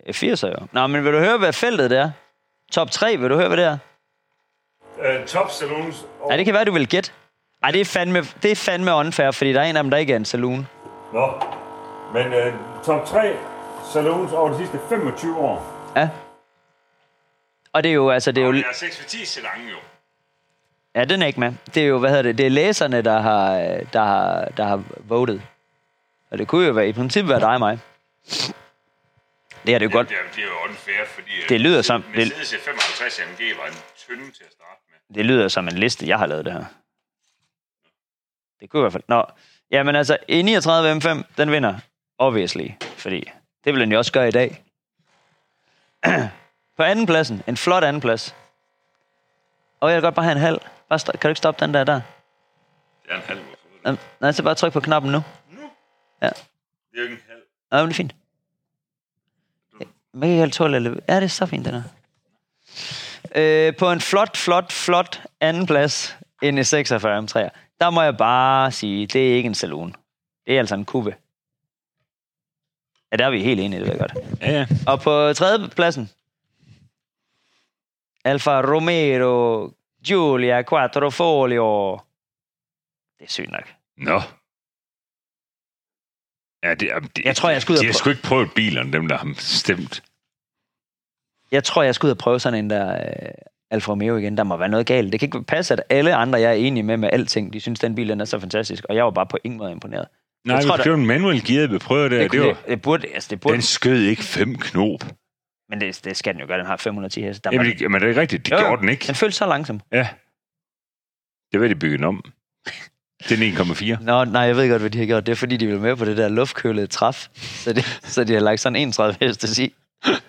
F80'er jo. Nå, men vil du høre, hvad feltet det er? Top 3, vil du høre, hvad det er?
Øh, top saloons. Og...
Nej, det kan være, du vil gætte. Ej, det er, fandme, det er fandme unfair, fordi der er en af dem, der ikke er en saloon.
Nå. Men øh, top 3 saloons over de sidste 25 år.
Ja. Og det er jo, altså, det er jo...
6 for 10 så lange jo.
Ja, den er ikke med. Det er jo, hvad hedder det, det er læserne, der har, øh, der har, der har votet. Og det kunne jo være, i princippet være dig og mig. Det er det jo godt.
det er jo unfair, fordi... øh,
Det lyder som- det-
det... 55 AMG var en tynde til at starte med.
Det lyder som en liste, jeg har lavet det her. Det kunne i hvert fald... Nå, jamen altså, E39 M5, den vinder. Obviously. Fordi det vil den jo også gøre i dag. <clears throat> På anden pladsen. En flot anden plads. Og jeg vil godt bare have en halv. Bare stop, kan du ikke stoppe den der der?
Det er en halv motor.
Jamen, Nej, så bare tryk på knappen nu.
Det er jo ikke en halv.
Ja, men det er fint. Mega helt tål eller... Ja, det er så fint, den her. Øh, på en flot, flot, flot anden plads end i 46 om træer. Der må jeg bare sige, det er ikke en saloon. Det er altså en kube. Ja, der er vi helt enige, det ved jeg godt.
Ja, ja.
Og på tredje pladsen. Alfa Romero Giulia Quattrofoglio. Det er sygt nok.
Nå. Ja, det, jamen, det,
Jeg tror, jeg skal ud og
De har
prø-
sgu ikke prøvet bilerne, dem der har stemt.
Jeg tror, jeg skal ud og prøve sådan en der øh, Alfa Romeo igen. Der må være noget galt. Det kan ikke passe, at alle andre, jeg er enige med med alting, de synes, den bil den er så fantastisk. Og jeg var bare på ingen måde imponeret.
Nej,
tror,
tror, det var en manuel gearet, vi prøvede det,
Det,
det, det
kunne,
var,
det, det burde, altså det burde,
den skød ikke fem knop.
men det, det skal den jo gøre. Den har 510 heste. Der
Jamen,
var-
det, men det er ikke rigtigt, det
Jo, jo.
gjorde den ikke.
den føltes så langsom.
Ja. Det var de bygget om. Den 1,4.
Nå, nej, jeg ved godt, hvad de har gjort. Det er, fordi de ville med på det der luftkølede træf. Så de, så de har lagt sådan 31 hestes i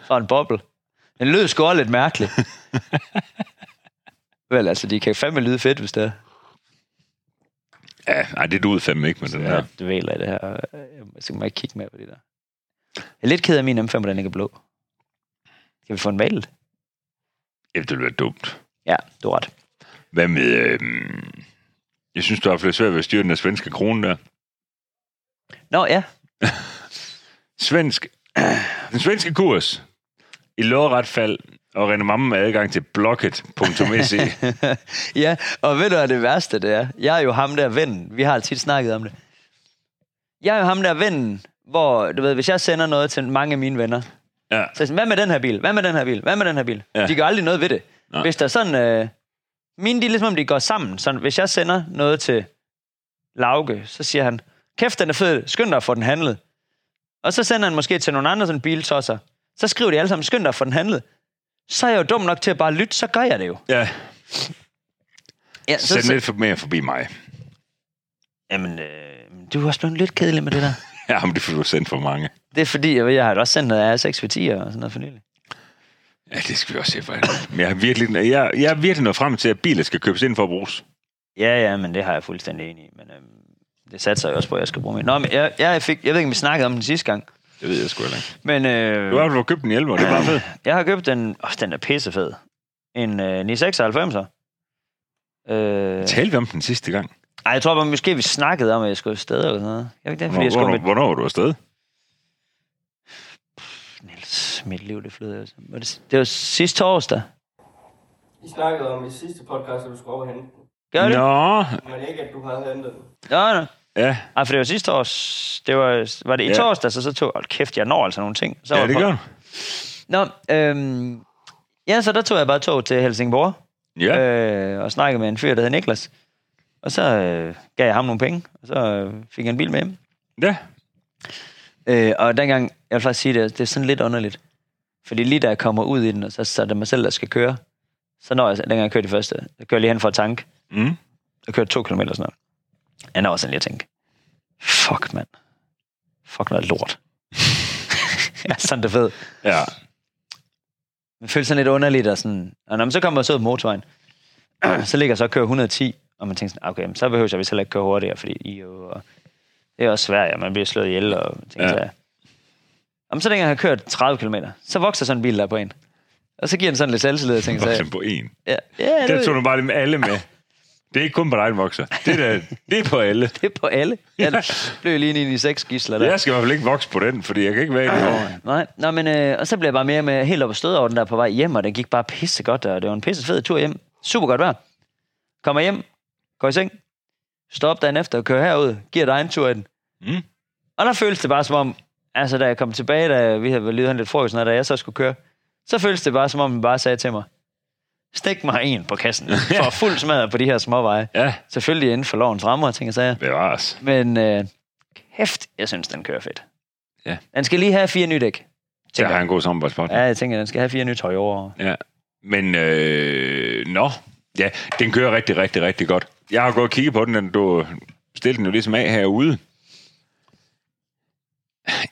fra en boble. Den lød sgu også lidt
<laughs>
mærkeligt. Vel, altså, de kan fandme lyde fedt, hvis det er.
Ja, nej, det duede fandme ikke med den
Ja.
her.
Det væler i det her. og Jeg skal ikke kigge med på det der. Jeg er lidt ked af at min M5, den ikke er blå. Kan vi få en mail?
Ja, det ville være dumt.
Ja, du har ret.
Hvad med... Øh, jeg synes, du har flere svært ved at styre den der svenske krone der.
Nå, ja.
Svensk. <clears throat> Den svenske kurs. I lodret fald og renommen med adgang til
<laughs>
blocket.se.
ja, og ved du, hvad det værste det er? Jeg er jo ham der vennen. Vi har tit snakket om det. Jeg er jo ham der vennen, hvor, du ved, hvis jeg sender noget til mange af mine venner, så
Ja.
er jeg sådan, hvad med den her bil? Hvad med den her bil? Hvad med den her bil?
Ja.
Ja. De gør aldrig noget ved det.
Nej.
Nej. Hvis der er sådan... Øh, mine, de er ligesom, om de går sammen. Så hvis jeg sender noget til Lauke, så siger han, kæft, den er fed. Skynd dig at få den handlet. Og så sender han måske til nogle andre sådan biltosser. Så skriver de alle sammen, skynd dig at få den handlet. Så er jeg jo dum nok til at bare lytte, så gør jeg det jo.
ja.
Ja, så,
Send
så,
lidt for mere forbi mig. <laughs>
jamen, øh, du er også blevet lidt kedelig med det der.
Ja, men det får du sendt for mange.
Det er fordi, jeg, ved, jeg har da også sendt noget af 6 for 10 og sådan noget for nylig.
Ja, det skal vi også se for. Men jeg har virkelig, jeg, jeg er virkelig nået frem til, at biler skal købes ind for at bruges.
Ja, ja, men det har jeg fuldstændig enig i. Men øhm, det satser jeg også på, at jeg skal bruge min. Nå, men jeg, jeg, fik, jeg ved ikke, om vi snakkede om den sidste gang.
Det ved jeg sgu heller ikke.
Men
Du har
øh,
jo købt en 11, og det er
<clears throat>
bare fedt.
jeg har købt en... Åh, den er pissefed. En øh, 996'er. Øh,
Talte vi om den sidste gang?
ej, jeg tror bare, måske vi snakkede om, at jeg skulle afsted eller sådan noget. Jeg, det, fordi jeg skulle
Hvornår,
med
hvornår var du afsted?
Niels, mit liv, det flyder. altså. Var det, det var sidste torsdag.
I snakkede om i sidste podcast, at du skulle over og hente den.
Gør det?
Nå,
Men ikke, at du havde hentet den.
Nå, nå.
ja,
Ej, for det var sidste års... Det var, var det i
Ja.
ja. torsdag, så, så tog... Hold kæft, jeg når altså nogle ting. Så
ja
var
det
på-
gør du.
Nå, øhm, ja, så der tog jeg bare tog til Helsingborg
Ja,
øh, og snakkede med en fyr, der hed Niklas. Og så øh, gav jeg ham nogle penge, og så øh, fik jeg en bil med hjem.
ja.
Øh, og dengang, jeg vil faktisk sige det, det er sådan lidt underligt. Fordi lige da jeg kommer ud i den, og så, så er det mig selv, der skal køre. Så når jeg, dengang jeg kørte det første, jeg kører lige hen for at tanke.
Mm.
Jeg kørte to kilometer og sådan noget. Jeg når sådan lige at tænke, fuck mand, fuck noget lort. <laughs> ja, sådan det er fedt.
ja.
Det føles sådan lidt underligt, og sådan, og når man så kommer og så ud på motorvejen, <clears throat> så ligger jeg så og kører 110, og man tænker sådan, "Ah, okay, men så behøver jeg vist heller ikke køre hurtigere, fordi I er jo, og det er også svært, og man bliver slået ihjel, og man tænker
Ja.
ja. så, om så dengang jeg har kørt 30 km, så vokser sådan en bil der på en. Og så giver den sådan lidt selvtillid, og tænker
Vokser
så,
den på en.
ja, ja
Der
det,
tog
er-
du bare dem alle med. Det er ikke kun på dig, den vokser. Det er, da, det er på alle.
det er på alle. Ja, det blev lige en i seks gidsler der.
Jeg skal i hvert fald ikke vokse på den, fordi jeg kan ikke være i den over.
Nej, Nå, men, øh, og så blev jeg bare mere med helt op og stød over den der på vej hjem, og det gik bare pisse godt, og det var en pisse fed tur hjem. Super godt vejr. Kommer hjem, går i seng, står op dagen efter og kører herud, giver dig en tur i den.
Mm.
Og der føltes det bare som om, altså da jeg kom tilbage, da vi havde lydet lidt frokost, når da jeg så skulle køre, så føltes det bare som om, den bare sagde til mig, stik mig en på kassen, for fuld smadret på de her små veje.
Ja,
Selvfølgelig inden for lovens rammer, tænker jeg. så jeg.
bevares.
Men øh, kæft, jeg synes, den kører fedt.
Ja.
Den skal lige have fire nye dæk.
Det
tænker
har
jeg.
en god samarbejdspartner.
Ja, jeg tænker, den skal have fire nye tøj over.
Ja. Men, øh, nå. Ja, den kører rigtig, rigtig, rigtig godt. Jeg har gået og kigget på den, den du stillede den jo ligesom af herude.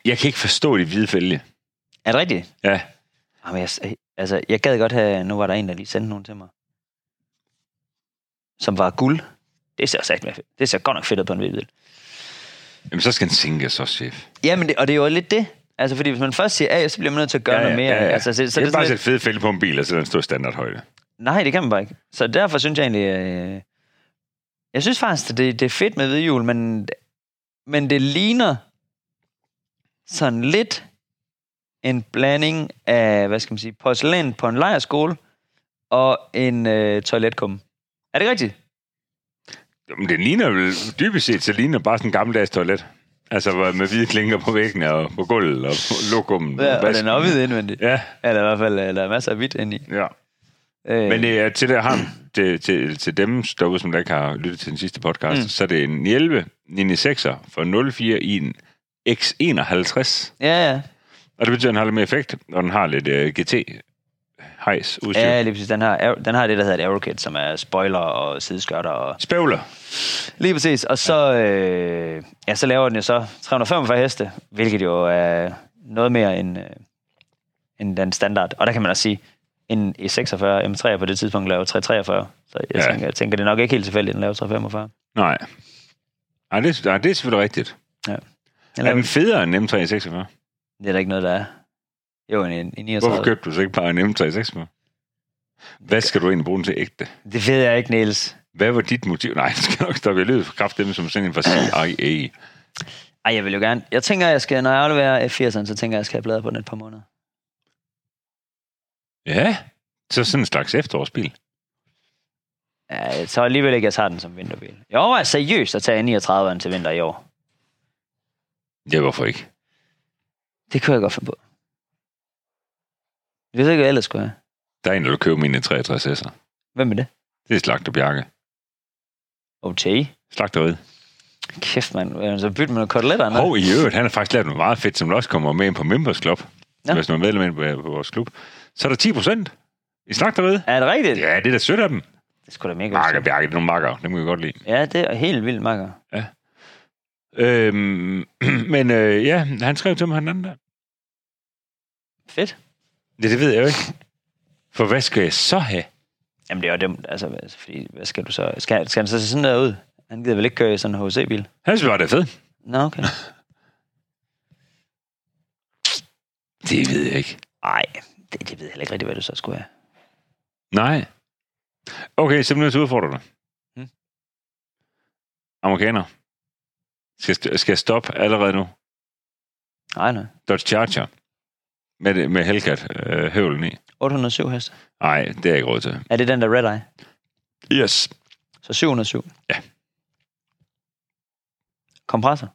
Jeg kan ikke forstå de hvide fælge.
Er det rigtigt?
Ja.
Jamen, jeg, altså, jeg gad godt have... Nu var der en, der lige sendte nogen til mig. Som var guld. Det ser sagt med Det ser godt nok fedt ud på en hvidbil.
Jamen, så skal den sænkes også, chef.
Jamen, det, og det er jo lidt det. Altså, fordi hvis man først siger A, så bliver man nødt til at gøre noget mere. Altså, så, så
jeg
det
kan
er
bare
sådan
sætte
lidt,
fede fælde på en bil, og så den står i standardhøjde.
nej, det kan man bare ikke. Så derfor synes jeg egentlig... Øh, jeg synes faktisk, at det, det er fedt med hvidhjul, men, men det ligner sådan lidt en blanding af, hvad skal man sige, porcelæn på en lejerskole og en øh, toiletkumme. Er det rigtigt?
Jamen, den ligner vel, dybest set, så ligner bare sådan en gammeldags toilet. Altså hvor- med hvide klinker på væggene og på gulvet og på lokummen.
Ja, og den
vasken.
er opvidet indvendigt.
Ja,
Eller i hvert fald, øh, der er masser af hvidt inde i.
ja.
Øh,
Men det er til, der, ham, til, til, til dem derude, som der ikke har lyttet til den sidste podcast, mm.
Mm.
så er det en 11, en 6'er for 04 i en X51.
Ja, ja.
Og det betyder, at den har lidt mere effekt, og den har lidt uh, GT hejs øh, udstyr.
Ja,
Ja.
lige præcis. Den har, den har det, der hedder et aerokit, som er spoiler og sideskørter og
Spævler.
Lige præcis. Og så, øh, ja, så laver den jo så 345 heste, hvilket jo er noget mere end, øh, end den standard. Og der kan man også sige, en E E46 M3 på det tidspunkt laver 343. Så jeg,
Ja.
ja. tænker, jeg tænker, det er nok ikke helt tilfældigt, at den laver 345.
Nej. Nej, det, nej, det er selvfølgelig rigtigt.
Den
Er
laver,
den federe end M346?
det er der ikke noget, der er. Jo, en, en
Hvorfor
39.
købte du så ikke bare en M346? Hvad skal du egentlig bruge den til ægte?
Det ved jeg ikke, Niels.
Hvad var dit motiv? Nej, <laughs> det skal nok stoppe. Jeg lyder kraft dem som sådan en fra E. CIA.
Ej, jeg vil jo gerne. Jeg tænker, jeg skal, når jeg afleverer F80'eren, så tænker jeg, jeg skal have bladet på den et par måneder.
Ja, så sådan en slags efterårsbil.
Ja, jeg tror alligevel ikke, jeg tager den som vinterbil. Jeg overvejer seriøst at tage 39'eren til vinter i år.
Ja, hvorfor ikke?
Det kunne jeg godt finde på. Det ved jeg ikke, hvad jeg ellers skulle have.
Der er en, der vil købe min 63S'er.
Hvem er det?
Det er Slagter Bjarke.
Okay.
Slagteriet.
Kæft, mand. Øh, Så bytte med nogle koteletter. eller noget.
Og i øvrigt, han har faktisk lavet noget meget fedt, som også kommer med ind på Members Club. Ja.
Nå.
Hvis man er medlem inde på på vores klub. Så er der 10 procent i Slagteriet.
Er det rigtigt?
Ja, det er da sødt af dem.
Det skulle da mega
Marker,
godt.
Bjarke, det er nogle makker. Dem kan vi godt lide.
Ja, det er helt vildt, makker.
Øhm, <clears throat> men øh, ja, han skrev til mig han anden dag.
Fedt.
Det, det ved jeg jo ikke. For hvad skal jeg så have?
Jamen, det er jo dumt. Altså, hvad- fordi, hvad skal du så... Skal, skal han så se sådan der ud? Han gider vel ikke køre i sådan en HC-bil?
Han synes bare, det er fedt.
Nå,
<laughs>
okay.
Det ved jeg ikke.
Nej, det, det, ved jeg heller ikke rigtigt, hvad du så skulle have.
Nej. Okay, så bliver jeg udfordre dig. Hm.
Hmm.
Amerikaner. Skal, jeg st- skal jeg stoppe allerede nu?
Nej, nej.
Dodge Charger. Med, det- med Hellcat øh, høvlen i.
807 heste.
Nej, det er jeg ikke råd til.
Er det den der red eye?
Yes.
Så 707?
Ja.
Kompressor?
Mm.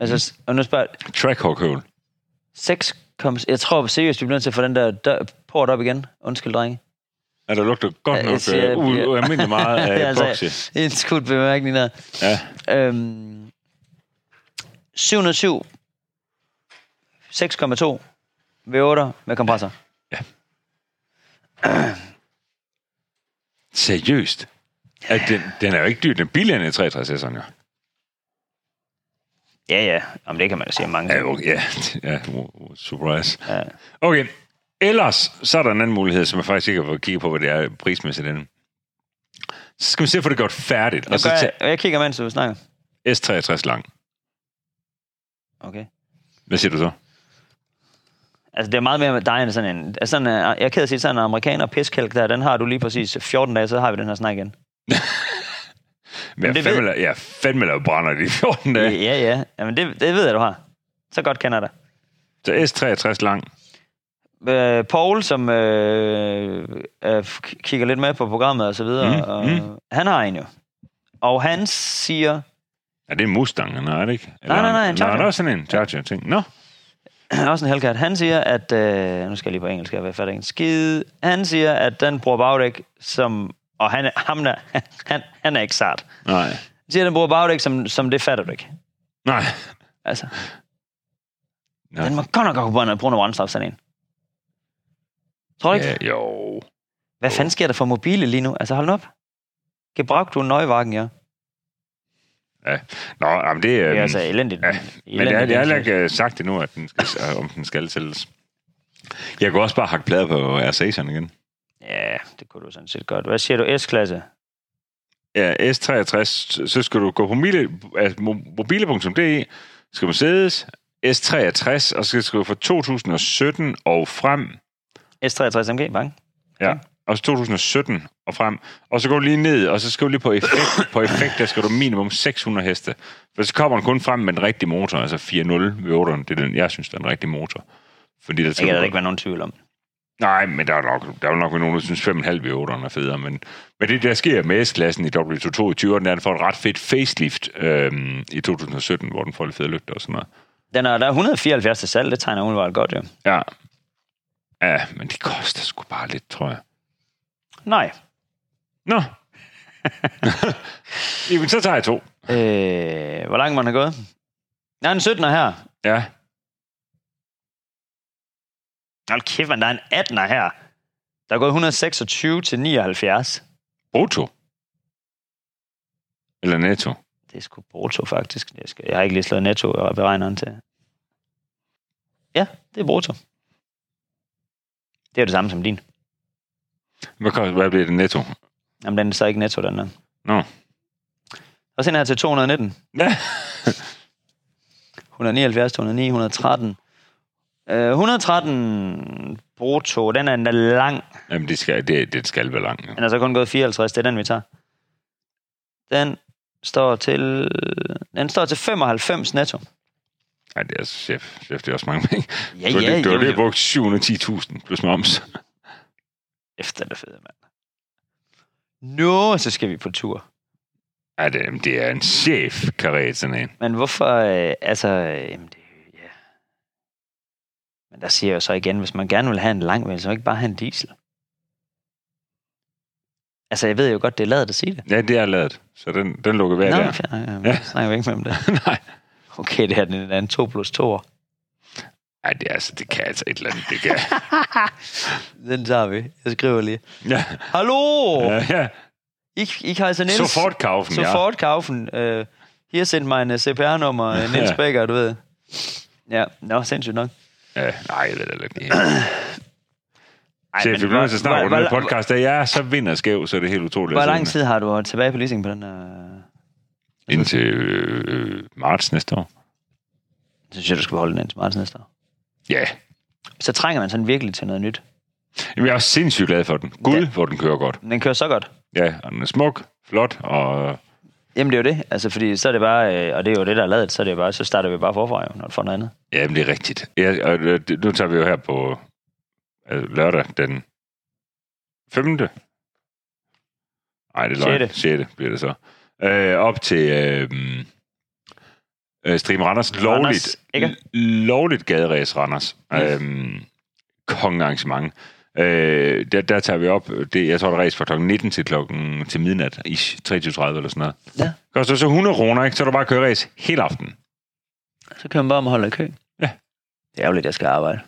Altså, s- og nu spørger jeg-
Trackhawk høvl.
6 kom... Jeg tror seriøst, vi bliver nødt til at få den der dør, port op igen. Undskyld, drenge.
Ja, der lugter godt
Ja,
nok
jeg siger,
øh,
jeg
u-
bliver-
ualmindelig
<laughs>
meget <laughs>
Ja,
af
altså,
epoxy.
En skudt bemærkning der.
Ja.
Øhm, 707. 6,2 V8 med kompressor.
Seriøst. At den, den er jo ikke dyr. Den er billigere end 63'eren, jo.
Ja, ja. Om det kan man da sige mange.
Ja, okay. ja, <laughs> ja oh, oh, surprise.
Ja.
Okay, ellers så er der en anden mulighed, som jeg faktisk ikke har fået kigget på, hvad det er prismæssigt inden. Så skal vi se, at få det gjort færdigt. Og
Jeg,
så
gør,
tage
jeg, jeg kigger, mens du snakker.
S63 lang.
Okay.
Hvad siger du så?
Altså, det er meget mere med dig end sådan en... Altså, sådan, en- jeg er ked af at sige, sådan en amerikaner piskælk der, den har du lige præcis 14 dage, så har vi den her snak igen.
Men jeg,
det
fandme,
ved-
la- jeg fandme laver brænder de <laughs> 14
Ja,
dage.
ja. ja. Jamen, det, det ved jeg, du har. Så godt kender jeg dig.
Så S63 lang.
øh, Paul, som øh, øh, k- kigger lidt med på programmet og så videre,
Mm,
mm, og,
mm.
mm. han har en jo. Og han siger, <clears throat>
Ja, det er en Mustang, han har, er det ikke?
nej, nej, en Charger.
Nej, der er sådan en Charger-ting. Nå,
også en Hellcat, han siger, at, øh, nu skal jeg lige på engelsk, jeg fatter ikke en skide, han siger, at den bruger bagdæk som, og han, er- ham der, <laughs> han, han er ikke sart.
nej,
Han siger, at den bruger bagdæk som, som det fatter du ikke.
nej.
Altså,
Nå.
ja. den må godt nok kunne bruge noget- bruge noget brændstof, sådan en. Tror du ikke?
Ja, jo.
Hvad fanden sker der for mobile lige nu? Altså, hold nu op. Gebraucht du nøjevagen, ja.
Nå, jamen det...
Det
Øhm,
er altså elendigt.
ja, men det er,
elendigt
det er heller
indsats.
ikke øh, sagt endnu, at den skal, øh, om den skal sælges. Jeg kunne også bare hakke plader på R6'eren igen.
Ja, det kunne du sådan set godt. Hvad siger du, S-klasse?
Ja, S63, så skal du gå på mobile, altså, mo- mobile.de, E, skal man sædes, S63, og så skal du skrive fra 2017 og frem,
S63 MG, bang.
ja, og så 2017 og frem, og så går du lige ned, og så skal du lige på effekt, på effekt, der skal du minimum 600 heste, for så kommer den kun frem med den rigtige motor, altså 4.0 V8'eren, det er den, jeg synes, der er den rigtige motor. Fordi der
Det
skal
kan
du
der
gå-
ikke være nogen tvivl om.
Nej, men der er nok, der er jo nok nogen, der synes 5,5 V8'eren er federe, men, men det der sker med S-klassen i W22, 20'eren, er, at den får et ret fedt facelift øhm, i 2017, hvor den får lidt fede lygter og sådan noget.
Den er, der er 174 til salg, det tegner umiddelbart godt, jo.
Ja. Ja, men det koster sgu bare lidt, tror jeg.
Nej. <laughs>
Nå. Jamen, så tager jeg to.
Øh, hvor langt man har gået? Der er en 17'er her.
Ja.
Hold kæft, man, der er en 18'er her. Der er gået 126 til 79.
Brutto? Eller netto?
Det er sgu brutto, faktisk. Jeg, skal, jeg har ikke lige slået netto og beregneren til. Ja, det er brutto. Det er jo det samme som din.
Hvad, koster- hvad bliver det netto?
Jamen, den er så ikke netto, den der.
Nå.
Og sen her til 219.
Ja.
179, 209, 113. Øh, 113 brutto, den er endda lang.
Jamen, det skal, det, det skal være langt.
Den er så kun gået 54, det er den, vi tager. Den står til, den står til 95 netto.
Ej, det er altså, chef. chef, det er også mange penge.
Ja,
du har lige, du har
jo,
lige
jo.
brugt 710.000 plus moms.
Efter det fede, mand. Nå, så skal vi på tur.
Ej, det, jamen, det er en chef, karet sådan en.
Men hvorfor, øh, altså, øh, jamen det, ja. Men der siger jeg jo så igen, hvis man gerne vil have en lang, vil så ikke bare have en diesel. Altså, jeg ved jo godt, det er lavet at sige det.
Ja, det er lavet. Så den, den lukker hver
Nå,
der.
fair nok. Jamen,
Ja.
så snakker vi ikke med om det.
<laughs> Nej.
<laughs> Okay, det her den er en anden 2 plus 2 år.
Ej, det, er, altså, det kan altså et eller andet.
<laughs>
Det kan.
Den tager vi. Jeg skriver lige.
ja,
Hallo! Ja.
ja, ja.
Ich, ich heiße Niels.
Sofort kaufen, ja.
Sofort kaufen. Uh, her sendt mig en øh, CPR-nummer, uh, Niels
Ja.
Becker, du ved. Ja, nå, sindssygt nok.
Ja, nej, jeg ved det er ikke.
Ej,
Chef, vi bliver nødt til snart at runde
hvor,
den
hvor,
podcast. Da jeg er så vinder skæv, så er det helt utroligt.
hvor
at
lang
sidde
tid har du tilbage på leasing på den her?
med. Indtil øh, øh, marts næste år.
Så synes jeg, du skal beholde den indtil marts næste år.
Ja.
Så trænger man sådan virkelig til noget nyt.
Jamen, jeg er også sindssygt glad for den. Gud,
Ja.
ja. hvor den kører godt.
Men den kører så godt.
Ja, og den er smuk, flot, og
Jamen, det er jo det. Altså, fordi så er det bare, øh, og det er jo det, der er lavet, så er det jo bare, så starter vi bare forfra, jo, når du får noget andet.
ja, men det er rigtigt. Ja, og, øh, det- nu tager vi jo her på øh, lørdag den 5. Nej, det er løgn. 6.
Sjette.
6. bliver det så. Øh, op til øh, øh, Stream Randers lovligt,
Randers, ikke?
lovligt gaderæs Randers.
Mm.
Mm. Øh, kongearrangement. Øh, der, der tager vi op, det, jeg tror, der er ræs fra klokken 19 til klokken til midnat, ish, 23.30 eller sådan noget.
Ja.
Koster så 100 kroner, ikke? Så er der bare køre ræs hele aften.
Så kører man bare om og holder i kø.
Ja.
Det er ærgerligt, jeg skal arbejde.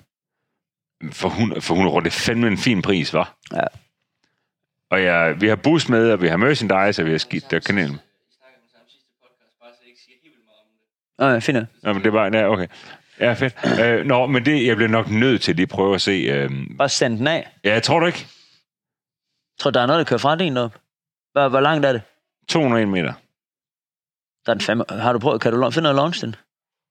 For 100, for 100 kroner, det er fandme en fin pris, var.
Ja.
Og ja, vi har bus med, og vi har merchandise, og vi har skidt der kanel.
I snakker om samme sidste podcast, bare så jeg ikke siger helt vildt meget om det.
Nå, ja, fint. nok.
Nå, men det var, ja, okay. Ja, fedt. Øh, nå, men det, jeg bliver nok nødt til lige at prøve at se. Øh,
Bare send den af.
ja, jeg tror du ikke?
Tror du, der er noget, der kører fra din op? Hvor, hvor langt er det?
201 meter.
Der er den fem. Har du prøvet, kan du lo- finde noget launch den?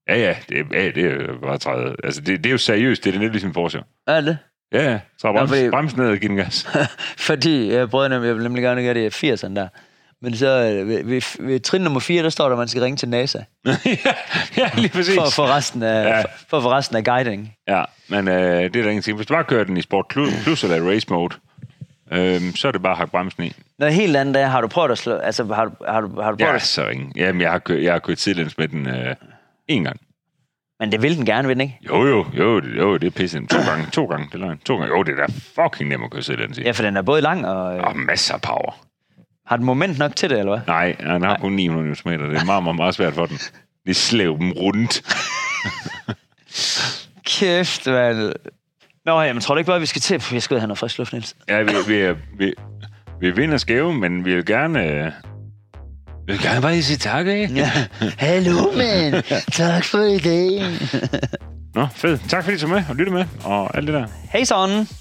Ja, ja, det, er- ja, det er jo bare 30. Altså, det, det er jo seriøst, det er det lidt ligesom Porsche.
Er det?
Ja, ja, så brems,
fordi-
brems ned og giv den gas. <laughs>
Fordi jeg prøvede nemlig, jeg ville nemlig gerne gøre det i 80'erne der. Men så øh, ved, ved, ved trin nummer 4, der står der, at man skal ringe til NASA
ja, ja, lige præcis.
for, for, resten, af,
Ja.
ja. for, for resten af guiding.
Ja, men øh, det er der ingenting. Hvis du bare kører den i Sport Clu- Plus eller i Race Mode, øh, så er det bare at hakke bremsen i.
Noget helt andet er, har du prøvet at slå... Altså, har du, har du, har du prøvet
Ja,
at,
så ingen. Jamen, jeg har kørt, jeg har kørt sidelæns med den øh, en gang.
Men det vil den gerne, vil den ikke?
Jo, jo, jo, det- jo, det er pisse. nemt. To gange, to gange, det er løgn. To gange. Jo, det er da fucking nemt at køre sidelæns i.
Ja, for den er både lang og... Øh,
Og masser af power.
har den moment nok til det, eller hvad?
Nej, han har kun 900 Nm. Det er meget, meget, meget svært for den. Det slæv dem rundt.
Kæft, mand. Nå, jamen, tror du ikke bare, vi skal til... Puh, Jeg skal ud og have noget frisk luft, Niels.
Ja, vi, vi, er- vi, vi vinder skæve, men vi vil gerne... Øh, vi vil gerne bare lige sige tak, ikke?
Ja. Hallo, <laughs> mand. Tak for i dag.
Nå, fedt. Tak fordi du så med og lytte med og alt det der.
Hej, sådan.